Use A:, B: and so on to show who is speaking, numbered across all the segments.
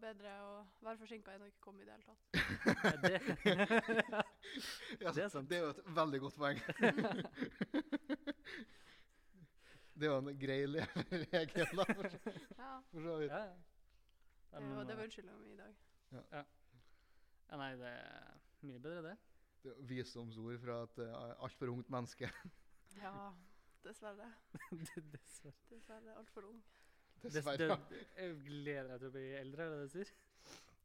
A: bedre å være forsinka enn å ikke komme i det hele tatt.
B: Ja, det,
C: Ja,
B: Det er sant.
C: Det er jo et veldig godt poeng. det er jo en grei leveregel, da, for,
A: Ja,
C: for så vidt.
B: ja, ja.
A: det
B: Men,
A: var, det var
B: eh,
A: unnskyldninga mi i dag.
B: ja, nei, det er mye bedre, det.
C: Det er jo visdomsord fra et uh, altfor ungt menneske.
A: Ja, dessverre.
B: Det- Dessverre.
A: Dessverre altfor ung.
B: Dess-
C: Dessverre.
B: det- Jeg gleder meg til å bli eldre, er det det du sier?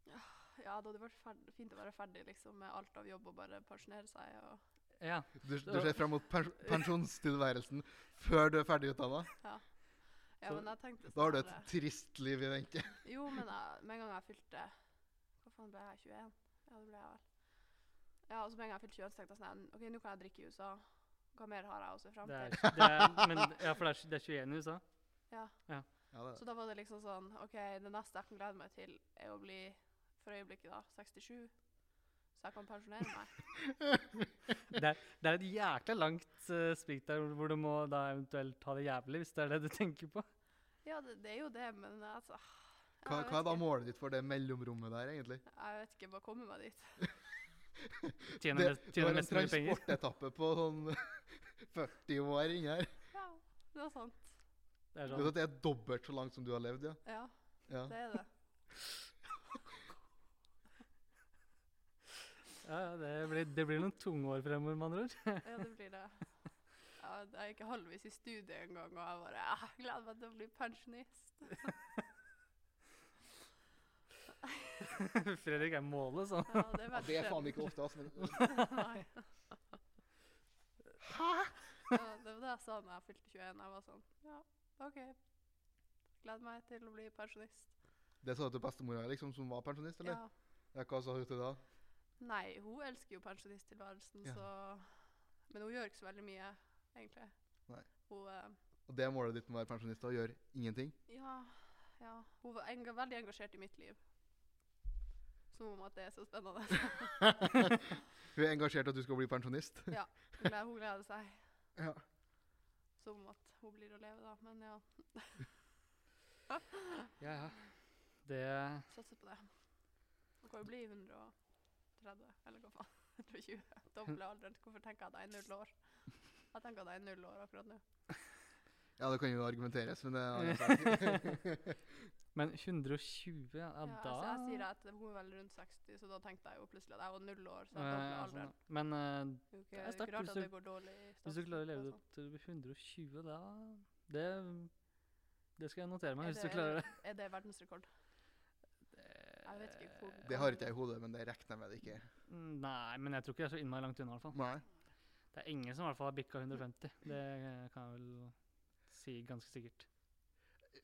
A: Ja, det hadde vært ferd fint å være ferdig liksom, med alt av jobb og bare pensjonere seg. Og,
B: Ja.
C: Du, du ser fram mot pens pensjonstilværelsen før du er ferdigutdanna.
A: ja,
B: Så-
A: men jeg tenkte
C: Da har du et
A: snarere-
C: trist liv i vente.
A: Jo, men jeg, med en gang jeg fylte Hva faen ble jeg? 21? Ja, det ble jeg vel. Ja, og så med en gang jeg fylte 21, så tenkte jeg sånn OK, nå kan jeg drikke i USA. Hva mer har jeg å se fram
B: Det er,
A: til?
B: det er, men, ja, for det er, det er 21 i USA.
A: Ja.
C: Ja, det,
A: Så da var det liksom sånn OK, det neste jeg kan glede meg til, er å bli, for øyeblikket, da, 67. Så jeg kan pensjonere meg.
B: Det er et jækla langt eh, sprik der hvor- hvor du må da eventuelt ha det jævlig, hvis det er det du tenker på.
A: Ja, det, det er jo det, men altså jeg
C: hva,
A: vet
C: hva er da
A: ikke.
C: målet ditt for det mellomrommet der, egentlig?
A: Jeg vet ikke. Bare komme meg dit.
B: Tjene
C: Det,
B: mest,
C: det
B: tjene
C: var en
B: mest mulig penger.
C: transportetappe på sånn 40 år inni her.
A: Ja, det er sant.
B: Det er
C: Du vet
B: sånn.
C: at Det er dobbelt så langt som du har levd, ja.
A: Ja,
C: ja.
A: det er det.
B: Ja, ja, det, blir, det blir noen tunge år fremover, med andre ord.
A: Ja, det blir det. Ja, jeg er ikke halvvis i studiet engang, og jeg bare «Ah, jeg gleder meg til å bli pensjonist.
B: Fredrik er målet, sånn.
A: Ja, det er,
C: Ja,
A: veldig
C: det er faen
A: sjelden.
C: ikke ofte, altså. Men
A: Nei. Ja, det var det jeg sa da jeg fylte 21. Jeg var sånn Ja, OK. Gleder meg til å bli pensjonist.
C: det sa du til bestemora liksom, som var pensjonist, eller?
A: Ja.
C: Ja, hva sa hun til da?
A: Nei, hun elsker jo pensjonisttilværelsen,
C: Ja.
A: så Men hun gjør ikke så veldig mye, egentlig.
C: Nei.
A: Hun eh,
C: Og det er målet ditt med å være pensjonist? Å gjøre ingenting?
A: Ja. ja. Hun var enga veldig engasjert i mitt liv. Som om at det er så spennende.
C: Hun er engasjert i at du skal bli pensjonist?
A: Hun gleder, hun gleder seg.
C: Ja.
A: Som om at hun blir å leve, da. Men ja,
B: Ja, ja. Det
A: satser på det. Hun kan jo bli 130, eller hva faen. 120. Doble alderen. Hvorfor tenker jeg at jeg er null år? Jeg tenker at jeg er null år akkurat nå.
C: Ja, det kan jo argumenteres, men det er en annen sak.
B: Men 120, ja, ja
A: Ja, jeg,
B: da
A: så jeg sier at hun er vel rundt 60, så da tenkte jeg jo plutselig at jeg var null år. Så
B: Eh,
A: jeg dobla
B: altså,
A: alderen.
B: Men eh,
A: Det er jo ikke-
B: det er
A: det er
B: sterkt
A: ikke rart
B: hvis
A: at
B: du-
A: det går dårlig i
B: hvis du
A: statsbudsjettet
B: klarer å
A: og
B: leve
A: sånn.
B: opp til du blir 120, da Det, det skal jeg notere meg,
A: Er
B: hvis du
A: det-
B: klarer det.
A: Er det verdensrekord? Jeg vet ikke hvor
C: Det har ikke jeg i hodet, men det regner jeg med det ikke er.
B: Eh, Nei, men jeg tror ikke det er så innmari langt unna, i hvert fall.
C: Nei.
B: Det er ingen som i hvert fall har bikka 150. Det eh, kan jeg vel si ganske sikkert.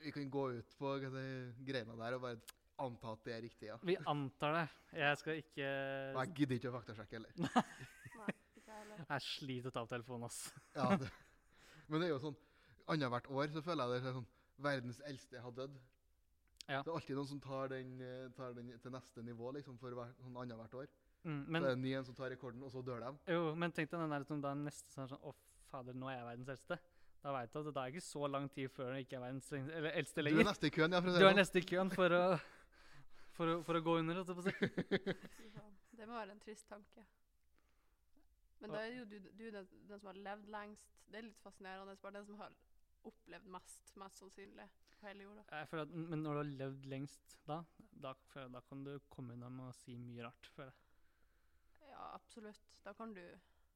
C: Vi kan gå ut på de greiene der og bare anta at det er riktig, ja.
B: Vi antar det. Jeg skal ikke
C: Og jeg gidder ikke å faktasjekke heller.
A: Nei, ikke jeg heller.
B: Jeg sliter å ta opp telefonen, ass.
C: Ja, det. Men det er jo sånn annethvert år så føler jeg det er sånn Verdens eldste har dødd.
B: Ja.
C: Det er alltid noen som tar den, eh, tar den til neste nivå liksom, for hver, sånn annethvert år.
B: Mm,
C: så
B: men,
C: er det en ny en som tar rekorden, og så dør de.
B: jo, men tenk deg den der som da neste som er sånn Å, fader, nå er jeg verdens eldste. Da veit du at det er ikke så lang tid før du ikke er verdens lengste- eller eldste
C: Du er
B: lenger.
C: neste i køen, ja. For å
B: Du
C: si
B: er
C: det sånn.
B: neste i køen for å, for å, for å gå under, holdt jeg på å si.
A: Fy faen. Det må være en trist tanke. Men
B: Og-
A: da er jo du, du den, den som har levd lengst. Det er litt fascinerende. Bare den som har opplevd mest, mest sannsynlig, på hele jorda.
B: Jeg føler at, men når du har levd lengst da, da, føler jeg, da kan du komme unna med å si mye rart, føler jeg.
A: Ja, absolutt. Da kan du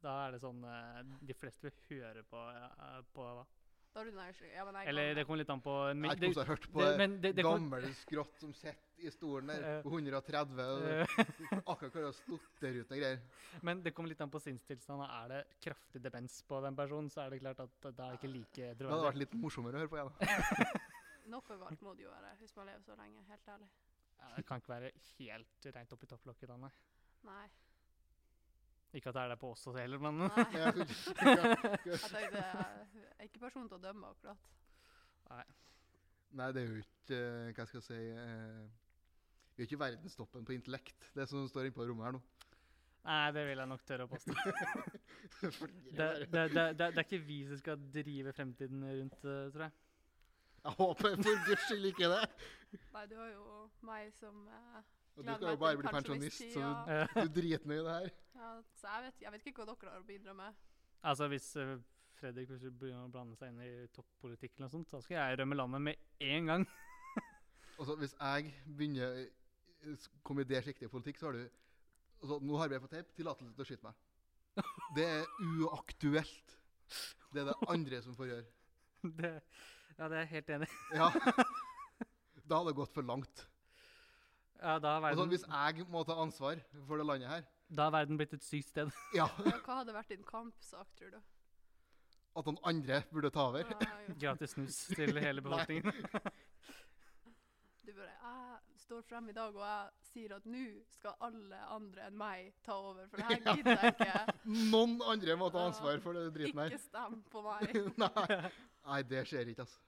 B: Da er det sånn eh, De fleste vil høre på, eh, på da.
A: Da har du den der unnskyldningen. Ja, men jeg
B: Eller det
A: kan
B: kommer litt an på
C: Jeg vet ikke hvordan jeg har hørt på det,
B: men det, det kom-
C: gamle skrått som sitter i stolen
B: Eh.
C: der, på 130,
B: eh,
C: og akkurat klarer å stotre ut noen greier.
B: men det kommer litt an på sinnstilstand. Er det kraftig demens på den personen, så er det klart at da er det ikke like
C: Det hadde vært
B: troverdig.
C: litt morsommere å høre på igjen. da.
A: Noe galt må det jo være hvis man lever så lenge, helt ærlig.
B: Ja, Det kan ikke være helt rent opp i topplokket da, nei.
A: Nei.
B: Ikke at det er det på oss også heller, men
A: Nei.
C: Jeg kunne ikke-
A: Jeg tenkte eh, Jeg er ikke person til å dømme, akkurat.
C: Nei, det er jo ikke eh, Hva skal jeg si eh, Vi er ikke verdenstoppen på intellekt, det som står innpå rommet her nå.
B: Nei, det vil jeg nok tørre å påstå.
C: Fordi
B: Det, det, det, det, det er ikke vi som skal drive fremtiden rundt, eh, tror jeg.
C: Jeg håper for guds skyld ikke det.
A: Nei, du har jo meg som eh,
C: Og du
A: Glad
C: skal
A: meg
C: jo bare
A: til
C: bli pensjonist, så du,
B: Eh,
A: pensjonisttida.
C: du driter ned i det her.
A: ja, Så jeg vet, jeg vet ikke hva dere har å bidra med.
B: Altså Hvis eh, Fredrik plutselig begynner å blande seg inn i toppolitikk, eller noe sånt, da skal jeg rømme landet med en gang.
C: Og så Altså, hvis jeg begynner å komme i det siktet i politikk, så har du altså, Nå har jeg på teip tillatelse til å skyte meg. Det er uaktuelt. Det er det andre som får gjøre.
B: Det, ja, det er jeg helt enig i.
C: Ja. Da har det gått for langt.
B: Ja, da har
C: Altså,
B: verden,
C: hvis jeg må ta ansvar for det landet her
B: da har verden blitt et sykt sted.
C: Ja,
A: Ja, hva hadde vært din kampsak, tror du?
C: at noen andre burde ta over.
A: Ja, jo.
B: Gratis snus til hele befolkningen.
A: Du bare Jeg står frem i dag og jeg sier at nå skal alle andre enn meg ta over, for det her gidder jeg ikke.
C: Noen andre må ta ansvar for den driten her.
A: Ikke stem på meg.
C: Nei. Nei, det skjer ikke, altså.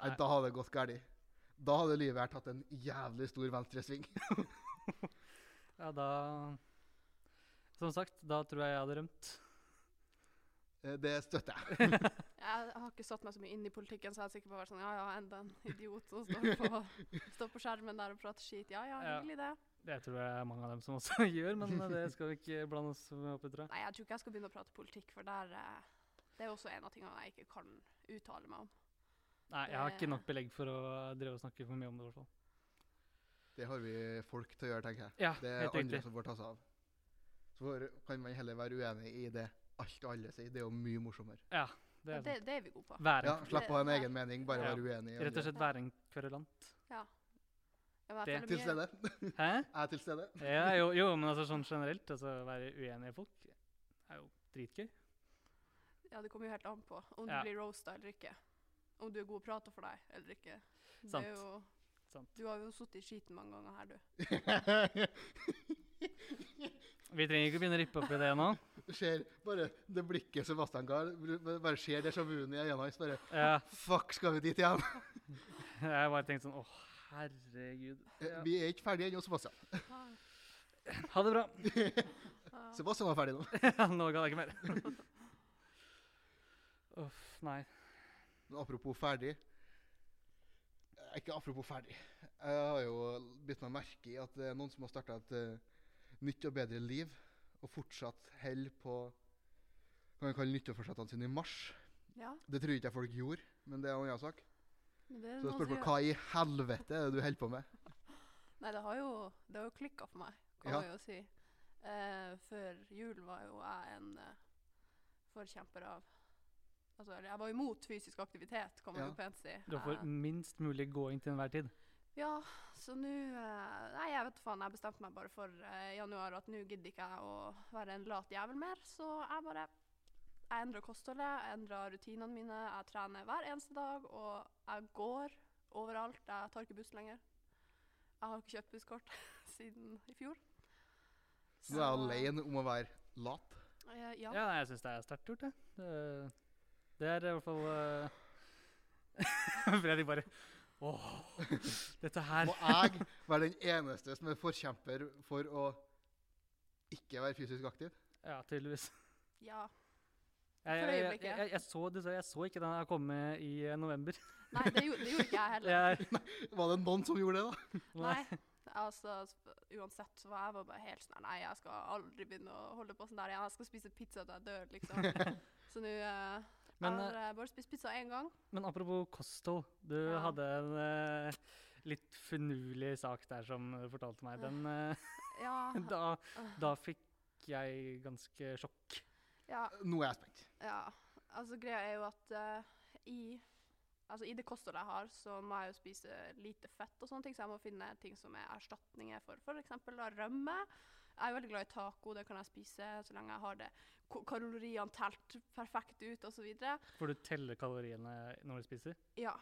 C: Nei, da hadde det gått galt. Da hadde livet her tatt en jævlig stor venstresving.
B: Ja, da Som sagt, da tror jeg jeg hadde rømt.
C: Eh, Det støtter jeg.
A: Jeg har ikke satt meg så mye inn i politikken, så jeg er sikker på å være sånn Ja ja, enda en idiot som står på, står på skjermen der og prater skit. Ja ja,
B: Ja.
A: hyggelig det.
B: Det tror jeg er mange av dem som også gjør, men eh, det skal vi ikke blande oss opp i, tror jeg.
A: Nei, jeg tror ikke jeg skal begynne å prate politikk, for der eh, Det er også en av tingene jeg ikke kan uttale meg om.
B: Nei, jeg har ikke nok belegg for å drive og snakke for mye om det, i hvert fall.
C: Det har vi folk til å gjøre, tenker jeg.
B: Ja,
C: Det er
B: helt
C: andre
B: riktig.
C: som får ta seg av. Så får- kan man heller være uenig i det alt og alle sier. Det er jo mye morsommere.
B: Ja, det
A: Men
B: er
A: det,
B: sant.
A: det er vi gode på.
B: Være,
C: Ja, Slapp å ha en
A: Ja.
C: egen mening, bare
B: Ja.
C: være uenig. i
B: rett og
C: andre.
B: slett være en kverulant.
A: Ja, men
B: det-
A: jeg
C: Til
A: føler mye,
C: stede.
B: Hæ?
C: Jeg er til stede.
B: Ja, jo, jo, men altså sånn generelt, altså være uenig i folk er jo dritgøy.
A: ja, det kommer jo helt an på om du
B: Ja.
A: blir roasta eller ikke. Om du er god prater for deg eller ikke. Det
B: Sant.
A: er jo,
B: Sant.
A: du har jo sittet i skiten mange ganger her, du.
B: Vi trenger ikke begynne å rippe opp i det nå.
C: Du ser bare det blikket Sebastian ga. Bare ser déjà vu-en i øynene hans. Bare
B: Ja,
C: Fuck, skal vi dit igjen?
B: jeg bare tenkte sånn Å, herregud. Ja.
C: Vi er ikke ferdige ennå, Sebastian.
A: Ah,
B: Ha det bra.
A: ah.
C: Sebastian var ferdig nå.
B: nå ga det ikke mer. Uff, nei.
C: Men apropos ferdig Eh, Ikke apropos ferdig. Jeg har jo bitt meg merke i at det er noen som har starta et eh, nytt og bedre liv, og fortsatt holder på hva man kaller nytteforsettene sine i mars.
A: Ja,
C: Det tror jeg ikke folk gjorde, men det er en annen sak.
A: men det er noen
C: Så jeg
A: som
C: spør på
A: gjør-
C: hva i helvete er det du holder på med?
A: Nei, det har jo, det har jo klikka for meg, kan
C: Ja.
A: man jo si. Eh, før jul var jo jeg en eh, forkjemper av Altså, eller jeg var imot fysisk aktivitet, kan man
C: Ja.
A: jo pent si.
B: Du
A: Eh,
B: får minst mulig gåing til enhver tid.
A: ja, så nå eh, Nei, jeg vet faen. Jeg bestemte meg bare for eh, i januar at nå gidder ikke jeg å være en lat jævel mer, så jeg bare jeg endrer kostholdet, jeg endrer rutinene mine, jeg trener hver eneste dag, og jeg går overalt. Jeg tar ikke buss lenger. Jeg har ikke kjøpt busskort siden i fjor.
C: Så nå er jeg alene om å være lat.
A: Eh, ja.
B: Ja, nei, jeg syns det er sterkt gjort, jeg. Det, det er i hvert fall eh, Fredrik bare Åh, dette her
C: Må jeg være den eneste som er forkjemper for å ikke være fysisk aktiv?
B: Ja, tydeligvis.
A: ja.
B: Jeg,
A: For
B: jeg, jeg,
A: øyeblikket.
B: jeg, jeg, jeg, så, dessverre- jeg så ikke den her komme i eh, november.
A: Nei, det gjorde, det gjorde ikke jeg heller.
B: Jeg,
C: Var det noen som gjorde det, da?
A: Nei. Altså, sp- uansett så var jeg var bare helt sånn her, Nei, jeg skal aldri begynne å holde på sånn der igjen. Jeg skal spise pizza til jeg dør, liksom. Så nå eh,
B: Men,
A: Jeg har eh, bare spist pizza én gang.
B: Men apropos kosthold. Du
A: Ja.
B: hadde en eh, litt finurlig sak der som du fortalte meg. Den, eh,
A: Ja.
B: da, da fikk jeg ganske sjokk.
A: ja,
C: Nå er jeg spent.
A: ja. Altså, greia er jo at eh, i Altså, I det kostholdet jeg har, så må jeg jo spise lite fett og sånne ting, så jeg må finne ting som er erstatninger for f.eks. rømme. Jeg er veldig glad i taco, det kan jeg spise så lenge jeg har det ko- kaloriene telt perfekt ut osv.
B: For du teller kaloriene når du spiser.
A: Ja.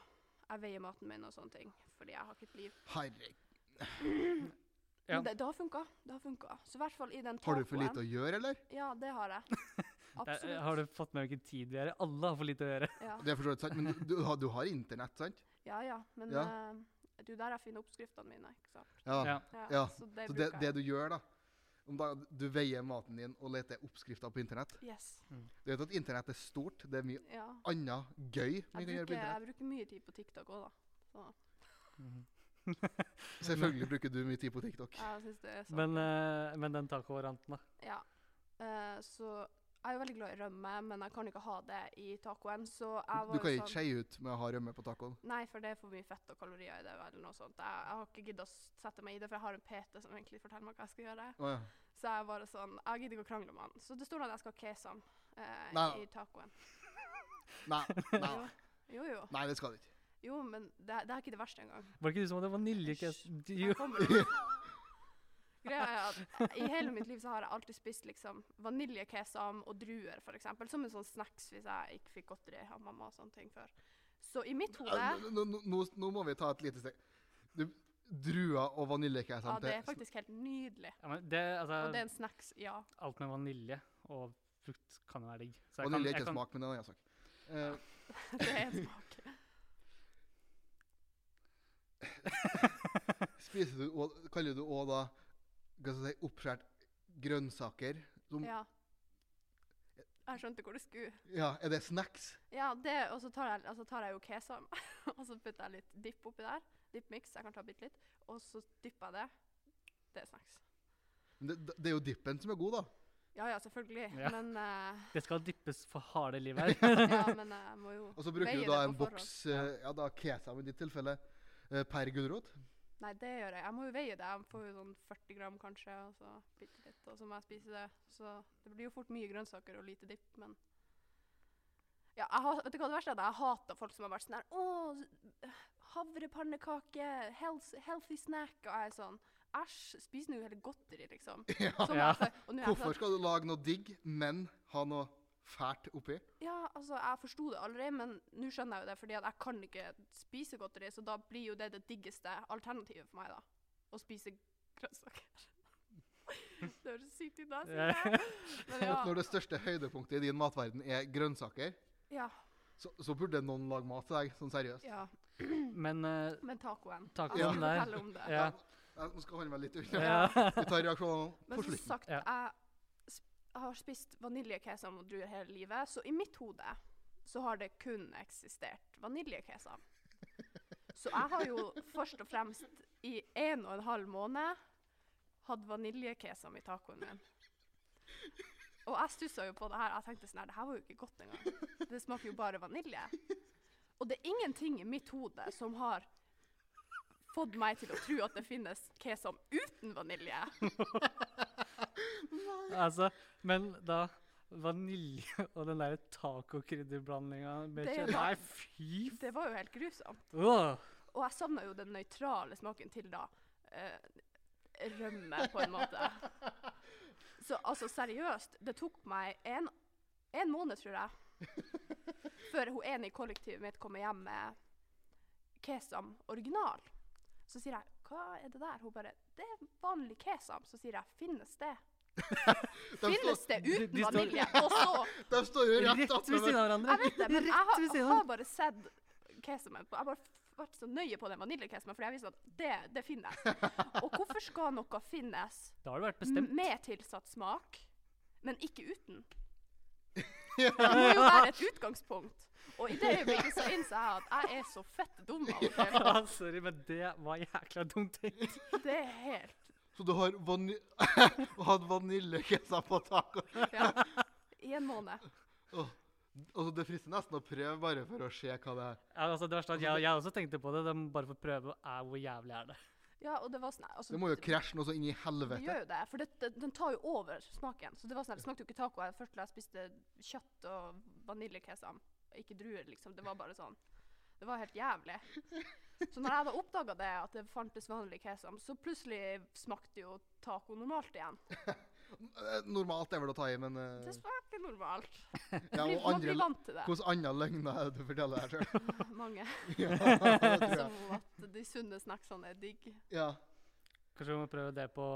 A: Jeg veier maten min og sånne ting, fordi jeg har ikke et liv.
C: Herregud.
B: Ja.
A: Men det, det har funka. Det har funka. Så i hvert fall i den
C: Har
A: tacoen
C: du for lite å Eh, gjøre, eller?
A: Ja, det har jeg.
B: Det er-
A: Absolutt.
B: Eh, har du fått med hvilken tid vi er i? Alle har for lite å gjøre.
A: Ja,
C: Det er for så vidt sant, men du, du, har- du har internett, sant?
A: ja. ja. Men
C: Ja.
A: eh, det er jo der jeg finner oppskriftene mine, ikke sant.
C: Ja.
B: Ja.
C: Ja,
A: Så det
C: Så det,
A: bruker
C: det
A: jeg.
C: du gjør, da Om da du veier maten din og leter oppskrifter på internett.
A: Yes.
C: Du vet at internett er stort. Det er mye
A: Ja.
C: annet gøy vi
A: Jeg
C: kan gjøre på
A: bruker,
C: internett.
A: jeg bruker mye tid på TikTok òg, da. Så
B: Mhm.
A: Sånn.
C: Selvfølgelig bruker du mye tid på TikTok.
A: jeg synes det er så
B: Men, eh, men den tacovarianten, da?
A: Ja. Eh, så jeg er jo veldig glad i rømme, men jeg kan ikke ha det i tacoen. Så jeg var
C: Du
A: jo
C: kan ikke
A: sånn,
C: skeie ut med å ha rømme på tacoen.
A: Nei, for det er for mye fett og kalorier i det. eller noe sånt. Jeg, jeg har ikke giddet å s- sette meg i det, for jeg har en PT som egentlig forteller meg hva jeg skal gjøre.
C: Å ja.
A: Så jeg er bare sånn, jeg gidder ikke å krangle med han. Så det står at jeg skal ha kesam eh,
C: Nei.
A: i tacoen.
C: Nei, nei,
A: Jo. Jo, jo.
C: nei, det skal du ikke.
A: Jo, men det, det er ikke det verste engang.
B: Var det ikke du som hadde vaniljekes...
A: Her
B: Jo.
A: kommer det. Greia er at I hele mitt liv så har jeg alltid spist liksom vaniljekesam og druer, for eksempel, Som en sånn snacks hvis jeg ikke fikk godteri av mamma og sånne ting før. Så i mitt hode
C: Ja, Nå, nå, nå, nå må vi ta et lite steg. Du, druer og vaniljekake
A: Ja, det er
C: samtidig.
A: faktisk helt nydelig.
B: Ja, men det,
A: Og det
B: altså,
A: er en snacks, ja.
B: alt med vanilje og frukt kan jo være digg. Så jeg kan-
C: Vanilje er
B: jeg
C: ikke
B: kan-
C: smak, men det er en annen sak. Eh,
A: Det er en smak.
C: spiser du og, Kaller du òg da hva skal jeg si, oppskåret grønnsaker? Som, ja.
A: Ja. Jeg skjønte hvor det skulle.
C: Er det snacks?
A: Ja, det, og så tar jeg, altså tar jeg jo kesam, og så putter jeg litt dipp oppi der. Dippmix, jeg kan ta bitte litt. Og så dypper jeg det. Det er snacks.
C: Men Det, det er jo dippen som er god, da.
A: Ja ja, selvfølgelig.
B: Ja.
A: Men eh,
B: Det skal dyppes for harde liv her.
A: Ja, men jeg må jo
C: Og så bruker
A: Veier
C: du da
A: det
C: en
A: på forhånd.
C: boks eh, ja da kesam i ditt tilfelle eh, per gulrot.
A: Nei, det gjør jeg. Jeg må jo veie det. Jeg får jo sånn 40 gram kanskje, og så bitte litt, og så må jeg spise det. Så det blir jo fort mye grønnsaker og lite dipp, men ja, jeg har, vet du hva det verste er? Jeg hater folk som har vært sånn her Å, s- havrepannekake, health, healthy snack. Og jeg er sånn Æsj, spis nå hele godteri, liksom.
C: Ja.
A: Sånn er
B: Ja.
A: jeg før. Og nå er jeg sånn-
C: Hvorfor skal du lage noe digg, men ha noe fælt oppi?
A: Ja, altså, jeg forsto det aldri, men nå skjønner jeg jo det, fordi at jeg kan ikke spise godteri, så da blir jo det det diggeste alternativet for meg, da. Å spise grønnsaker. det høres sykt ut, da. sier jeg. Men ja.
C: Når det største høydepunktet i din matverden er grønnsaker,
A: ja,
C: så, så burde noen lage mat til deg, sånn seriøst.
A: ja.
B: Men eh,
A: Men tacoen.
B: Tacoen
A: jeg må
B: der.
A: fortelle om det.
B: Ja.
C: Ja, Nå skal han være litt unna.
B: ja.
C: Vi tar reaksjonene
A: Men
C: på
A: som
C: slutten.
A: sagt,
B: Ja.
A: jeg sp- har spist vaniljekesam og druer hele livet, så i mitt hode så har det kun eksistert vaniljekesam. Så jeg har jo først og fremst i en og en halv måned hatt vaniljekesam i tacoen min. Og jeg stussa jo på det her. Jeg tenkte sånn her, det her var jo ikke godt engang. Det smaker jo bare vanilje. Og det er ingenting i mitt hode som har fått meg til å tro at det finnes kesam uten vanilje.
B: Altså, men da Vanilje og den der tacokrydderblandinga med
A: Det
B: kjøtt
A: var-
B: Nei, fy f...
A: Det var jo helt grusomt.
B: Åh!
A: Og jeg savna jo den nøytrale smaken til da eh, rømme, på en måte. Så altså, seriøst, det tok meg en, en måned, tror jeg, før hun ene i kollektivet mitt kommer hjem med kesam original. Så sier jeg 'hva er det der?' Hun bare 'det er vanlig kesam'. Så sier jeg 'finnes det?'
C: De,
A: Finnes det
B: de-
A: uten
B: de står-
A: vanilje? Og så
C: står- de står jo
B: Rett
C: rett
B: ved
C: attmed
B: siden av hverandre.
A: Jeg vet det, men jeg
B: Rett
A: har,
B: ved siden
A: har
B: av.
A: bare sett kesamen på Jeg har bare f- vært så nøye på den vaniljekesamen, fordi jeg visste at det, det finnes. Og hvorfor skal noe finnes
B: Da har det vært
A: m-
B: bestemt.
A: med tilsatt smak, men ikke uten? Det må jo være et utgangspunkt. Og i det øyeblikket så innså jeg at jeg er så fett dum av og til.
B: Ja, sorry, men det var jækla dumt tenkt.
A: Det er helt
C: Så du har vani hatt vaniljekesam på taco?
A: Ja. I en måned.
C: Åh. Altså, det frister nesten å prøve bare for å se hva det er.
B: Ja, altså, det verste er at jeg, jeg også tenkte på det. De bare for å prøve er hvor jævlig er det.
A: Ja, og det var sånn altså,
C: Det må jo krasje noe så inn i
A: Det
C: helvete.
A: gjør jo det, for det, det, den tar jo over smaken. Så Det var sånn, her, det smakte jo ikke taco. Jeg først da jeg spiste kjøtt og vaniljekesam, og ikke druer, liksom. Det var bare sånn. Det var helt jævlig. Så når jeg da oppdaga det, at det fantes vanlig kesam, så plutselig smakte jo taco normalt igjen.
C: Eh, Normalt er vel å ta i, men eh,
A: Det smaker normalt.
C: ja,
A: Man blir-
C: og
A: man
C: andre,
A: blir vant til det.
C: Hvordan andre løgner er det du forteller her sjøl?
A: Mange.
C: Ja, det tror jeg.
A: Som at de sunne snacksene er digg.
C: Ja.
B: Kanskje vi må prøve det på,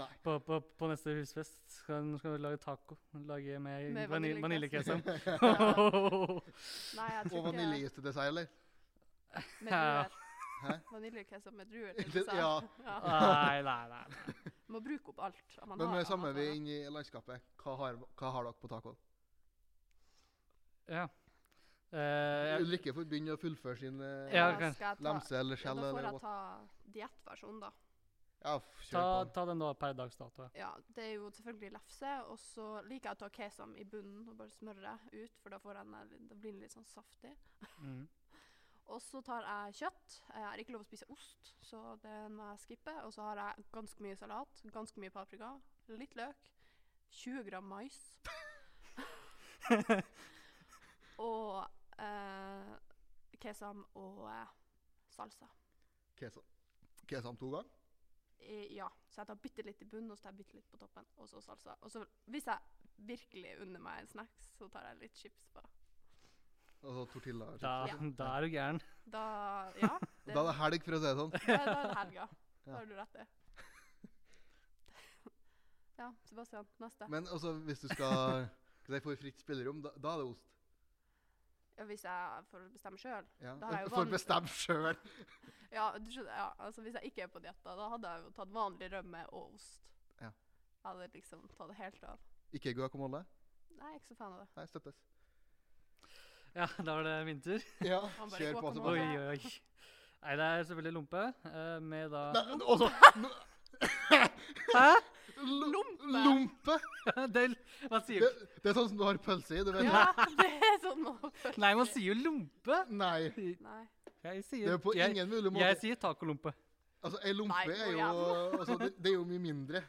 C: Nei.
B: på, på, på neste husfest. Skal, nå skal vi lage taco. Lage med,
A: Med
B: vanil-
A: vaniljekesam.
B: vaniljekesam.
A: Nei, jeg
C: Og
A: tror ikke
C: vaniljeis til dessert, eller?
A: med druer.
C: Hæ?
A: Vaniljekesam med druer.
C: Det-
A: til dessert.
C: ja.
A: ja.
B: Nei, nei, nei.
A: Må bruke opp alt. man
C: Men
A: har
C: med det
A: av
C: samme vi
A: matvarer.
C: er inne i landskapet, hva har, hva har dere på tacoen?
B: Ja. Eh, jeg,
C: Ulrikke får begynne å fullføre sin eh,
B: Ja,
A: Da
B: kan-
A: skal jeg ta-
C: lemse eller
A: Ja,
C: skjell
A: da får
C: eller
A: jeg
C: hva.
A: ta diettversjonen, da.
C: Ja, f-
B: ta,
C: kjør på.
B: ta den da per dags dato. ja.
A: Ja, det er jo selvfølgelig lefse, og så liker jeg å ta kesam i bunnen og bare smøre ut, for da, får den, eh, da blir den litt sånn saftig.
B: Mm.
A: Og så tar jeg kjøtt. Jeg har ikke lov å spise ost, så den må jeg skippe. Og så har jeg ganske mye salat, ganske mye paprika, litt løk, 20 gram mais. og eh, kesam og eh, salsa.
C: Kesam. Kesam to ganger?
A: I, ja, så jeg tar bitte litt i bunnen, og så tar jeg bitte litt på toppen, og så salsa. Og så hvis jeg virkelig unner meg en snacks, så tar jeg litt chips på.
C: Altså tortilla. og
B: Da,
A: Ja.
B: da er du gæren.
A: Da, ja,
C: chips.
A: det,
C: Da er det helg, for å si det sånn.
A: da, da er det helga.
C: Ja.
A: Da har du rett i. Ja, Sebastian, neste.
C: Men altså, hvis du skal Hvis jeg får fritt spillerom, da, da er det ost.
A: Ja, hvis jeg får bestemme sjøl.
C: Ja.
A: Da har jeg jo
C: Får
A: vann-
C: bestemme sjøl.
A: Ja, du skjønner, ja, altså hvis jeg ikke er på diett, da da hadde jeg jo tatt vanlig rømme og ost.
C: Ja.
A: Jeg hadde liksom tatt det helt av.
C: Ikke guacamole?
A: Nei, jeg er ikke så fan av det.
C: Nei, støttes.
B: Ja, da var det min tur.
C: Ja,
A: Han bare
C: kjør på. altså.
B: Oi,
A: guacamole.
C: Sebastian.
B: oi, oi. Nei, det er selvfølgelig lompe. eh, Med da
C: Nei, altså
B: Hæ?
C: Lompe!
A: Lompe.
C: Lompe.
B: Det, er- man sier
C: Det,
B: jo ikke
C: det er sånn som du har pølse i. Du vet
A: Ja, det er sånn man føler
B: Nei, man
A: seg.
B: sier jo lompe.
C: Nei.
A: Nei.
B: Jeg
C: Det
B: sier,
C: er på
B: jeg,
C: ingen mulig
B: jeg
C: måte.
B: sier tacolompe.
C: Altså, ei lompe
A: Nei,
C: er
A: går
C: jo altså, det, det er jo mye mindre.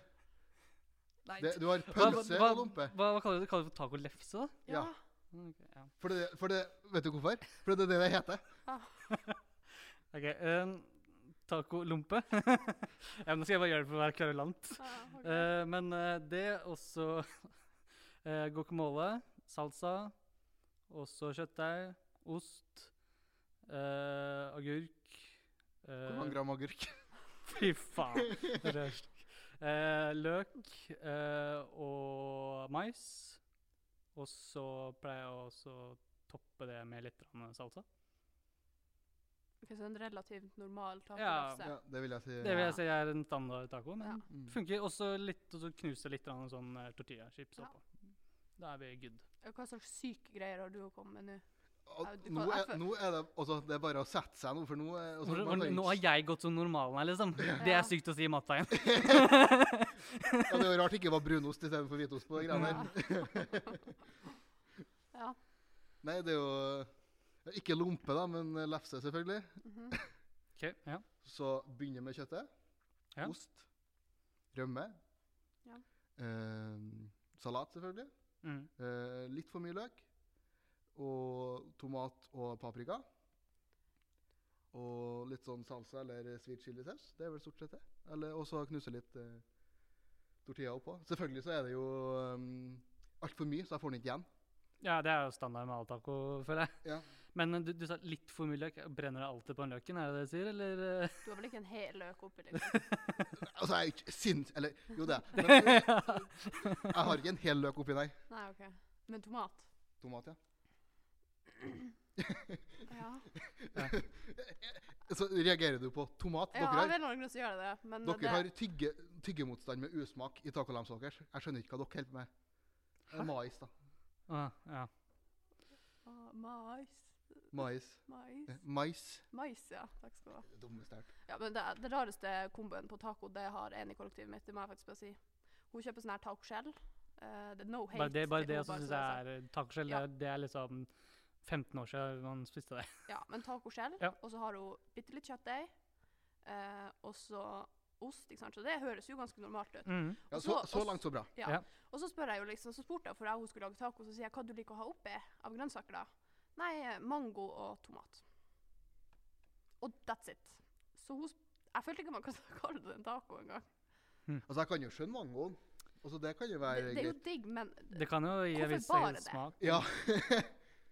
B: Nei,
C: Det, du har
B: hva,
C: pølse
B: hva,
C: og lompe.
B: hva, hva kaller du det? Kaller du det for tacolefse, da?
A: Ja.
C: Ja.
B: Mm, ok, ja.
C: For det, for det, vet du hvorfor? For det er det det heter.
B: Ok, um, tacolompe. ja, men nå skal jeg bare gjøre det for å være kverulant.
A: ja ok.
B: Eh, men eh, det også uh, guacamole, salsa, også kjøttdeig, ost, eh, agurk
C: Hvor
B: eh,
C: mange gram agurk?
B: Fy faen. det er stygt. Eh, løk eh, og mais. Og så pleier jeg også å toppe det med litt grann salsa.
A: Ok, så en relativt normal
B: Ja.
A: tacolefse.
C: Ja, det vil jeg si.
B: Det vil
A: Ja.
B: jeg si er en standard taco, men
A: Ja.
C: Mm.
B: funker. Og så litt, og så knuse litt grann sånn eh, tortillachips
A: Ja.
B: oppå. Da er vi good.
A: Og Hva slags syke greier har du å komme med nå?
C: Og
A: Ja, du
C: Nå
A: kan-
C: er, nå er det, altså, det er bare å sette seg nå, for nå er- altså,
B: Hvor,
C: man
B: hvor,
C: kan
B: nå
C: ikke-
B: har jeg gått som normalen her, liksom. Det
A: Ja.
B: er sykt å si i matveien.
C: ja, Det er jo rart det ikke var brunost istedenfor hvitost på de greiene der.
A: Ja.
C: Nei, det er jo ja, Ikke lompe, da, men lefse, selvfølgelig.
A: mhm.
B: Ok, ja.
C: Så begynner med kjøttet.
B: Ja.
C: Ost. Rømme.
A: Ja.
C: Eh, salat, selvfølgelig.
B: Mm.
C: Eh, litt for mye løk. Og tomat og paprika. Og litt sånn salsa eller sweet chilisaus. Det er vel stort sett det. Eller- Og så knuse litt eh, tortilla oppå. Selvfølgelig så er det jo um, altfor mye, så jeg får den ikke igjen.
B: ja, det er jo standard med all taco, føler jeg.
C: Ja.
B: Men eh, du, du sa litt for mye løk. Brenner det alltid på den løken, er det det du sier? Eller eh,
A: Du har vel ikke en hel løk oppi, liksom?
C: Altså, jeg er ikke sinns... Eller jo, det er jeg. Men jeg har ikke en hel løk oppi der.
A: Nei, OK. Men tomat?
C: Tomat, ja.
A: Ja.
C: Så reagerer du på tomat?
A: Ja, jeg
C: dere har,
A: vet noen som gjør det, men eh, det,
C: dere har tygge, tyggemotstand med usmak i tacolamsa deres. Jeg skjønner ikke hva dere holder på med. Eh, Mais, da.
B: ah, ja.
A: Å, Mais.
C: Mais.
A: Mais.
C: Eh, Mais.
A: Mais, ja. Takk skal du ha.
C: Dummeste jeg har hørt.
A: Ja, men det, det rareste komboen på taco, det har en i kollektivet mitt. Det må jeg faktisk bare si. Hun kjøper sånn her tacoskjell. Eh, det er no hate.
B: Bare det, bare
A: til
B: det
A: hun
B: også syns
A: sånn,
B: jeg er eh, tacoskjell.
A: Ja.
B: det er- Det er liksom 15 år siden man spiste det.
A: altså. Ja, men tacoskjell,
B: Ja.
A: og så har hun bitte litt kjøttdeig, eh, og så ost, ikke sant. Så det høres jo ganske normalt ut.
B: Mm.
C: Ja,
A: Og
C: så,
A: så-
C: så
A: og
C: langt, så bra.
A: Ja.
B: Ja.
A: Og så spør jeg jo liksom, så spurte jeg for jeg og hun skulle lage taco, så sier jeg hva du liker å ha oppi av grønnsaker da? Nei, eh, mango og tomat. Og that's it. Så hun, sp- jeg følte ikke man kan kalle det en taco engang.
C: Altså, jeg kan jo skjønne mangoen. Altså, det kan jo
A: Det,
C: være
A: det er jo
C: greit.
A: digg, men
B: Det kan jo gi
A: Hvorfor
B: en viss
A: bare
B: eh,
A: det?
B: smak.
C: Ja.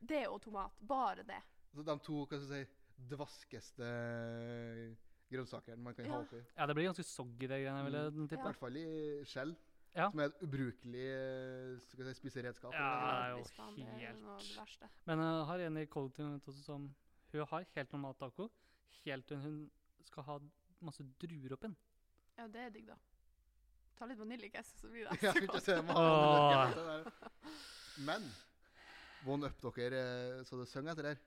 A: det og tomat, bare det.
C: Så de to hva skal jeg si, dvaskeste eh, grønnsakene man kan ha
A: Ja.
C: oppi.
B: Ja, det blir ganske soggy, det greiene, vil jeg
C: I
B: tippe.
C: hvert fall i skjell,
B: Ja.
C: som er et ubrukelig eh, skal jeg si, spiseredskap.
B: Ja,
C: eller hva det
B: det er jo
A: Hvis faen, det er
B: helt-
A: noe av det verste.
B: Men jeg har en i kollektivet mitt også som Hun har helt normal taco, helt til hun skal ha masse druer oppi den.
A: Ja, det er digg da. Ta litt vaniljekess, så blir det
C: Ja,
A: ekstra
C: ikke
A: godt.
C: se meg.
B: Åh.
C: Det der. Men one up dere eh, så det synger etter her.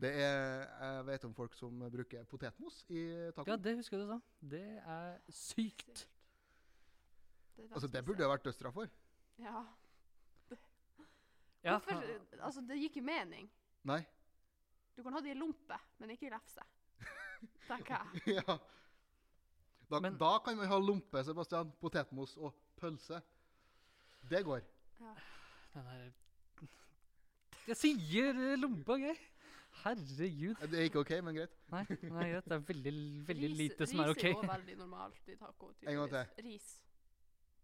C: Det er, Jeg vet om folk som bruker potetmos i taco.
B: Ja, det husker du, da. Det er sykt.
A: Det, er
C: altså, det
A: spesielt.
C: burde jeg vært dødsstraff for.
A: Ja.
B: Ja,
A: Hvorfor, altså, det gir ikke mening.
C: Nei.
A: Du kan ha det i lompe, men ikke i lefse. Tenker jeg.
C: ja. Da,
B: Men-
C: da kan man ha lompe, Sebastian. Potetmos og pølse. Det går.
B: den her Jeg sier eh, lompe, OK? Herregud.
C: Det er ikke OK, men greit.
B: Nei, nei, greit. Det er veldig, veldig
A: Ris-
B: lite som er OK.
A: Ris er også veldig normalt i taco.
C: En gang til.
A: tydeligvis.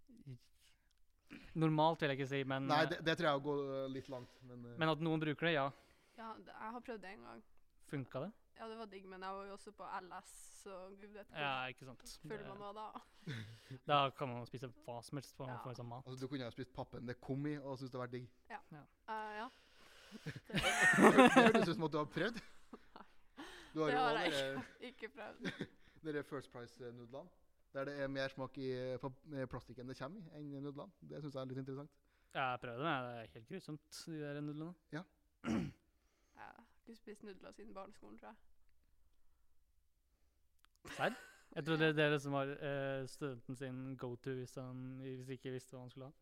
A: Ris.
B: Normalt vil jeg ikke si, men,
C: Nei,
B: eh,
C: det, det tror jeg går eh, litt langt. Men, eh,
B: men at noen bruker det, ja.
A: Ja, det- jeg har prøvd det en gang.
B: Funka det?
A: Ja, det var digg, men jeg var jo også på LS, så gud vet hvor
B: Ja, ikke sant.
A: full
B: Det-
A: man var da.
B: Da kan man spise hva som helst for,
A: Ja.
B: for sånn mat.
C: altså, du kunne ha spist pappen det kom i, og syntes det var digg.
A: Eh, ja.
C: Det hørtes ut som at du har prøvd. Du har
A: Det
C: jo
A: har
C: også
A: jeg
C: dere-
A: Ikke prøvd.
C: Dere First Price-nudlene. Der det er mer smak i eh, pap- eh, plastikken det kommer i, enn i nudlene. Det syns jeg er litt interessant.
B: Jeg prøvde det, det er helt grusomt, de der nudlene.
A: Jeg har ikke spist nudler siden barneskolen, tror jeg.
B: Serr? Jeg trodde det er det som var eh, studenten sin go-to hvis han hvis ikke visste hva han skulle ha.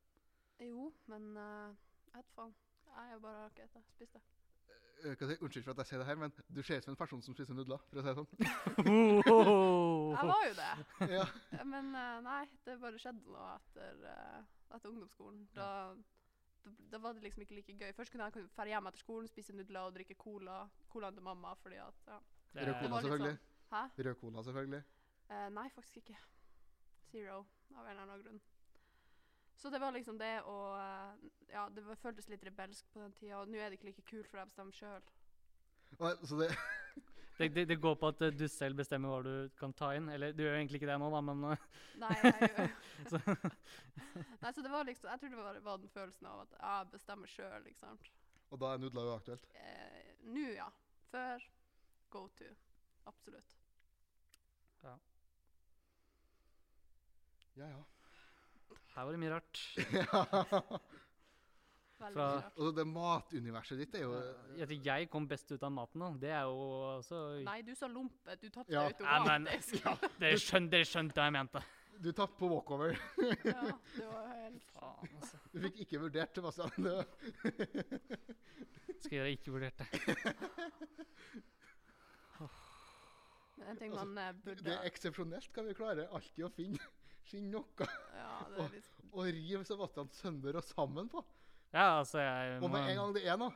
A: Jo, men eh, jeg vet faen. Jeg har bare ikke spist det. Spist det.
C: Eh, hva sier- Unnskyld for at jeg sier det her, men du ser ut som en person som spiser nudler. for å si det sånn.
A: Jeg var jo det.
C: Ja.
A: Eh, Men eh, nei, det bare skjedde noe etter, eh, etter ungdomsskolen. Da, da, da var det liksom ikke like gøy. Først kunne jeg kunne ferde hjem etter skolen, spise nudler og drikke cola. Colaen til mamma, fordi at ja.
B: Det er-
C: Rød
A: Det
C: cola,
A: var litt sånn,
C: selvfølgelig.
A: Hæ?
C: Rød cola, selvfølgelig.
A: Eh, nei, faktisk ikke. Zero, av en eller annen grunn. Så det var liksom det å eh, Ja, det var, føltes litt rebelsk på den tida, og nå er det ikke like kult, for jeg bestemmer sjøl.
C: Og, så det,
B: det, det, det går på at eh, du selv bestemmer hva du kan ta inn. Eller du gjør egentlig ikke det nå, da, men eh,
A: Nei, jeg gjør-
B: så,
A: nei, så det var liksom Jeg tror det var, var den følelsen av at jeg bestemmer sjøl, ikke sant.
C: og da er nudler uaktuelt.
A: Eh, nå, ja. Før go to. Absolutt.
C: Ja, ja.
B: her var det mye rart.
A: Veldig
B: Fra-
A: rart.
C: Og så det matuniverset ditt er jo
B: Jeg, tror jeg kom best ut av maten, da. Det er jo også
A: Nei, du sa lompe. Du tapte
C: Ja.
B: Ja, men-
A: automatisk. Ja,
C: ja,
B: Dere skjønte, dere skjønte hva jeg mente.
C: Du tapte på walkover.
A: det var helt
B: Faen, altså.
C: Du fikk ikke vurdert, Sebastian. Det var-
B: Skulle jeg ikke vurdert det.
A: Men en ting man eh, burde
C: Det er eksepsjonelt hva vi klarer alltid å finne, finne noe
A: Ja, det er liksom litt
C: å rive Sebastian sønder og sammen på.
B: Ja, altså, jeg
C: Og med en
B: må-
C: gang det er noe,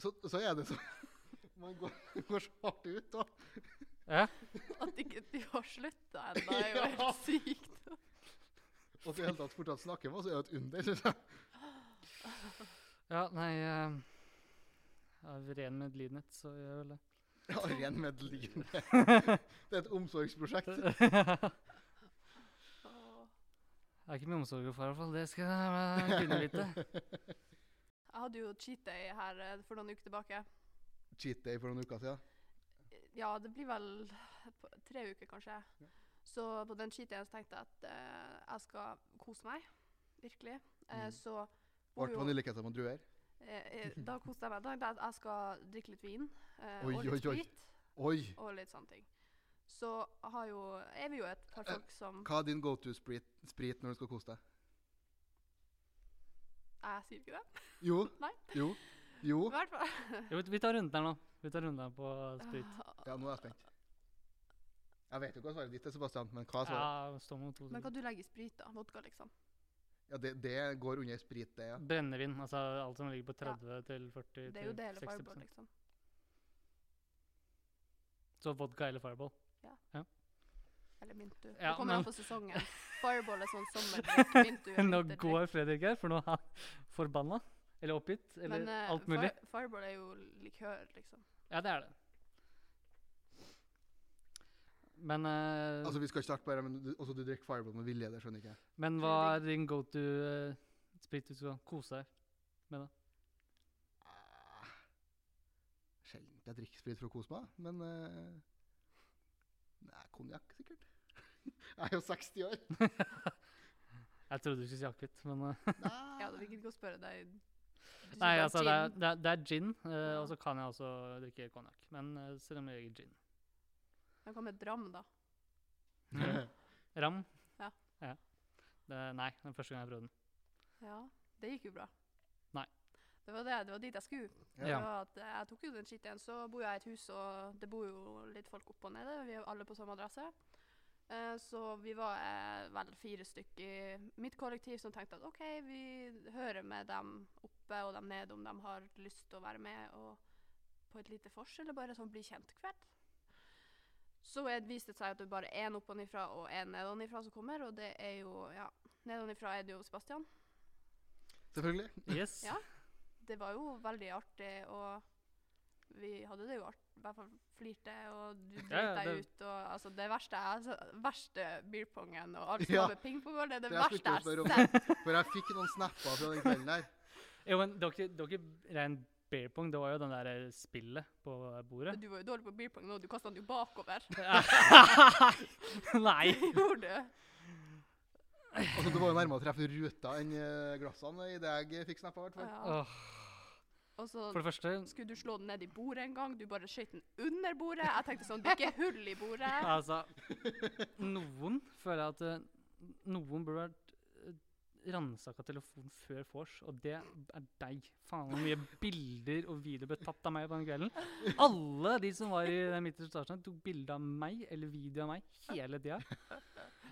C: så, så er det så Man går, går så hardt ut, da.
B: ja.
A: At ikke de har slutta ennå, er jo
C: Ja.
A: helt sykt.
C: Og at vi i hele tatt fortsatt snakker med oss, er jo et under, synes jeg.
B: Ja, nei eh, Av ren medlidenhet, så gjør jeg vel det.
C: Ja, ren medlidenhet. Det er et omsorgsprosjekt.
B: jeg har
A: Åh.
B: ikke mye omsorg for, i hvert fall. Det skal jeg eh, kunne vite.
A: Jeg hadde jo cheat day her eh, for noen uker tilbake.
C: Cheat day for noen uker siden.
A: Ja, det blir vel på tre uker, kanskje. Så på den cheat dayen så tenkte jeg at eh, jeg skal kose meg. Virkelig. Eh,
C: Mm.
A: så
C: Ble
A: jo-
C: vaniljekettet med druer.
A: Eh, eh, da koste jeg meg. Da tenkte jeg at jeg skal drikke litt vin. Eh,
C: Oi,
A: og litt
C: oi, oi.
A: sprit.
C: Oi!
A: Og litt sånne ting. Så har jo, er vi jo et par
C: Eh,
A: folk som
C: Hva er din go to sprit, sprit når du skal kose deg?
A: Jeg sier ikke det.
C: Jo.
A: Nei.
C: Jo. Jo.
A: I hvert fall.
B: Jo, vi tar runden her nå. Vi tar runden her på sprit.
C: Ja, nå er jeg spent. Jeg vet jo hva svaret ditt er, Sebastian, men hva er svaret?
B: Ja, stå mot to
A: Men
B: sekunder.
A: kan du legge i sprit, da? Vodka, liksom.
C: Ja, det, det går under sprit, det, ja.
B: Brennevin, altså alt som ligger på 30 til 40 til
A: Det er jo det eller
B: 60
A: fireball, liksom.
B: Så vodka eller fireball.
A: Eller Mintu.
B: Ja,
A: det kommer
B: men-
A: an på sesongen. Fireball er sånn sommerdrikk. Mintu er
B: Nå
A: vinterdrikk.
B: går Fredrik her, for nå er han forbanna. Eller oppgitt. Eller
A: Men eh,
B: alt mulig.
A: Fire, fireball er jo likør, liksom.
B: Ja, det er det. Men, eh,
C: Altså, vi skal ikke starte på det, men du, altså, du drikker Fireball med vilje, det skjønner ikke jeg.
B: men hva er din go to eh, sprit du skal kose deg
C: Ah, Sjelden jeg drikker sprit for å kose meg, men eh, Nei, konjakk, sikkert. Jeg er jo 60 år.
B: Jeg trodde du skulle si akevitt, men eh,
A: Ja, du fikk ikke å spørre deg. Du
B: Nei,
A: sier
B: altså, det
A: bare
B: er, det er, det er gin, eh,
A: Ja.
B: og så kan jeg også drikke konjakk. Men uh, seremoniell gin.
A: gin. Den kom med dram, da.
B: Ram?
A: Ja.
B: Det, nei, den første gang jeg prøvde den.
A: Ja, det gikk jo bra.
B: Nei.
A: Det var, det, det var dit jeg skulle. Det
B: Ja.
A: var at jeg tok jo den skitten, så bor jeg i et hus, og det bor jo litt folk opp og nede. Vi er jo alle på samme adresse. Eh, så vi var eh, vel fire stykker i mitt kollektiv som tenkte at OK, vi hører med dem oppe og dem nede om de har lyst til å være med og på et lite vors, eller bare sånn bli kjent-kveld. Så er- viste det seg at det bare er én oppenifra og én nedenifra som kommer, og det er jo Ja, nedenifra er det jo Sebastian.
C: Selvfølgelig.
B: Yes.
A: Ja. det var jo veldig artig, og vi hadde det jo artig. I hvert fall flirte, og du dreit
B: ja,
A: deg
B: det-
A: ut. og altså Det verste er altså, verste beerpongen og alt som
C: Ja.
A: har med pingpong å gjøre, det er det,
C: Det jeg
A: verste
C: skulle
A: jeg
C: spørre
A: har
C: om.
A: sett.
C: For jeg fikk noen snapper fra den kvelden der.
B: Jo, men det var ikke, det var ikke ren beer pong, det var jo den der eh, spillet på bordet.
A: Du var jo dårlig på beerpong nå, du kasta den jo bakover.
B: nei!
A: Gjorde du?
C: Altså, det var jo nærmere å treffe ruta enn eh, glassene i det jeg fikk snappa. Ja.
A: Ja.
B: Åh,
A: Og så
B: For det første
A: skulle du slå den ned i bordet en gang, du bare skøyt den under bordet. Jeg tenkte sånn, det er ikke hull i bordet.
B: Altså, noen føler jeg at eh, noen burde vært ransaka telefonen før vors, og det er deg. Faen hvor mye bilder og videoer ble tatt av meg på den kvelden. Alle de som var i den midterste etasjen, tok bilde av meg eller video av meg hele tida.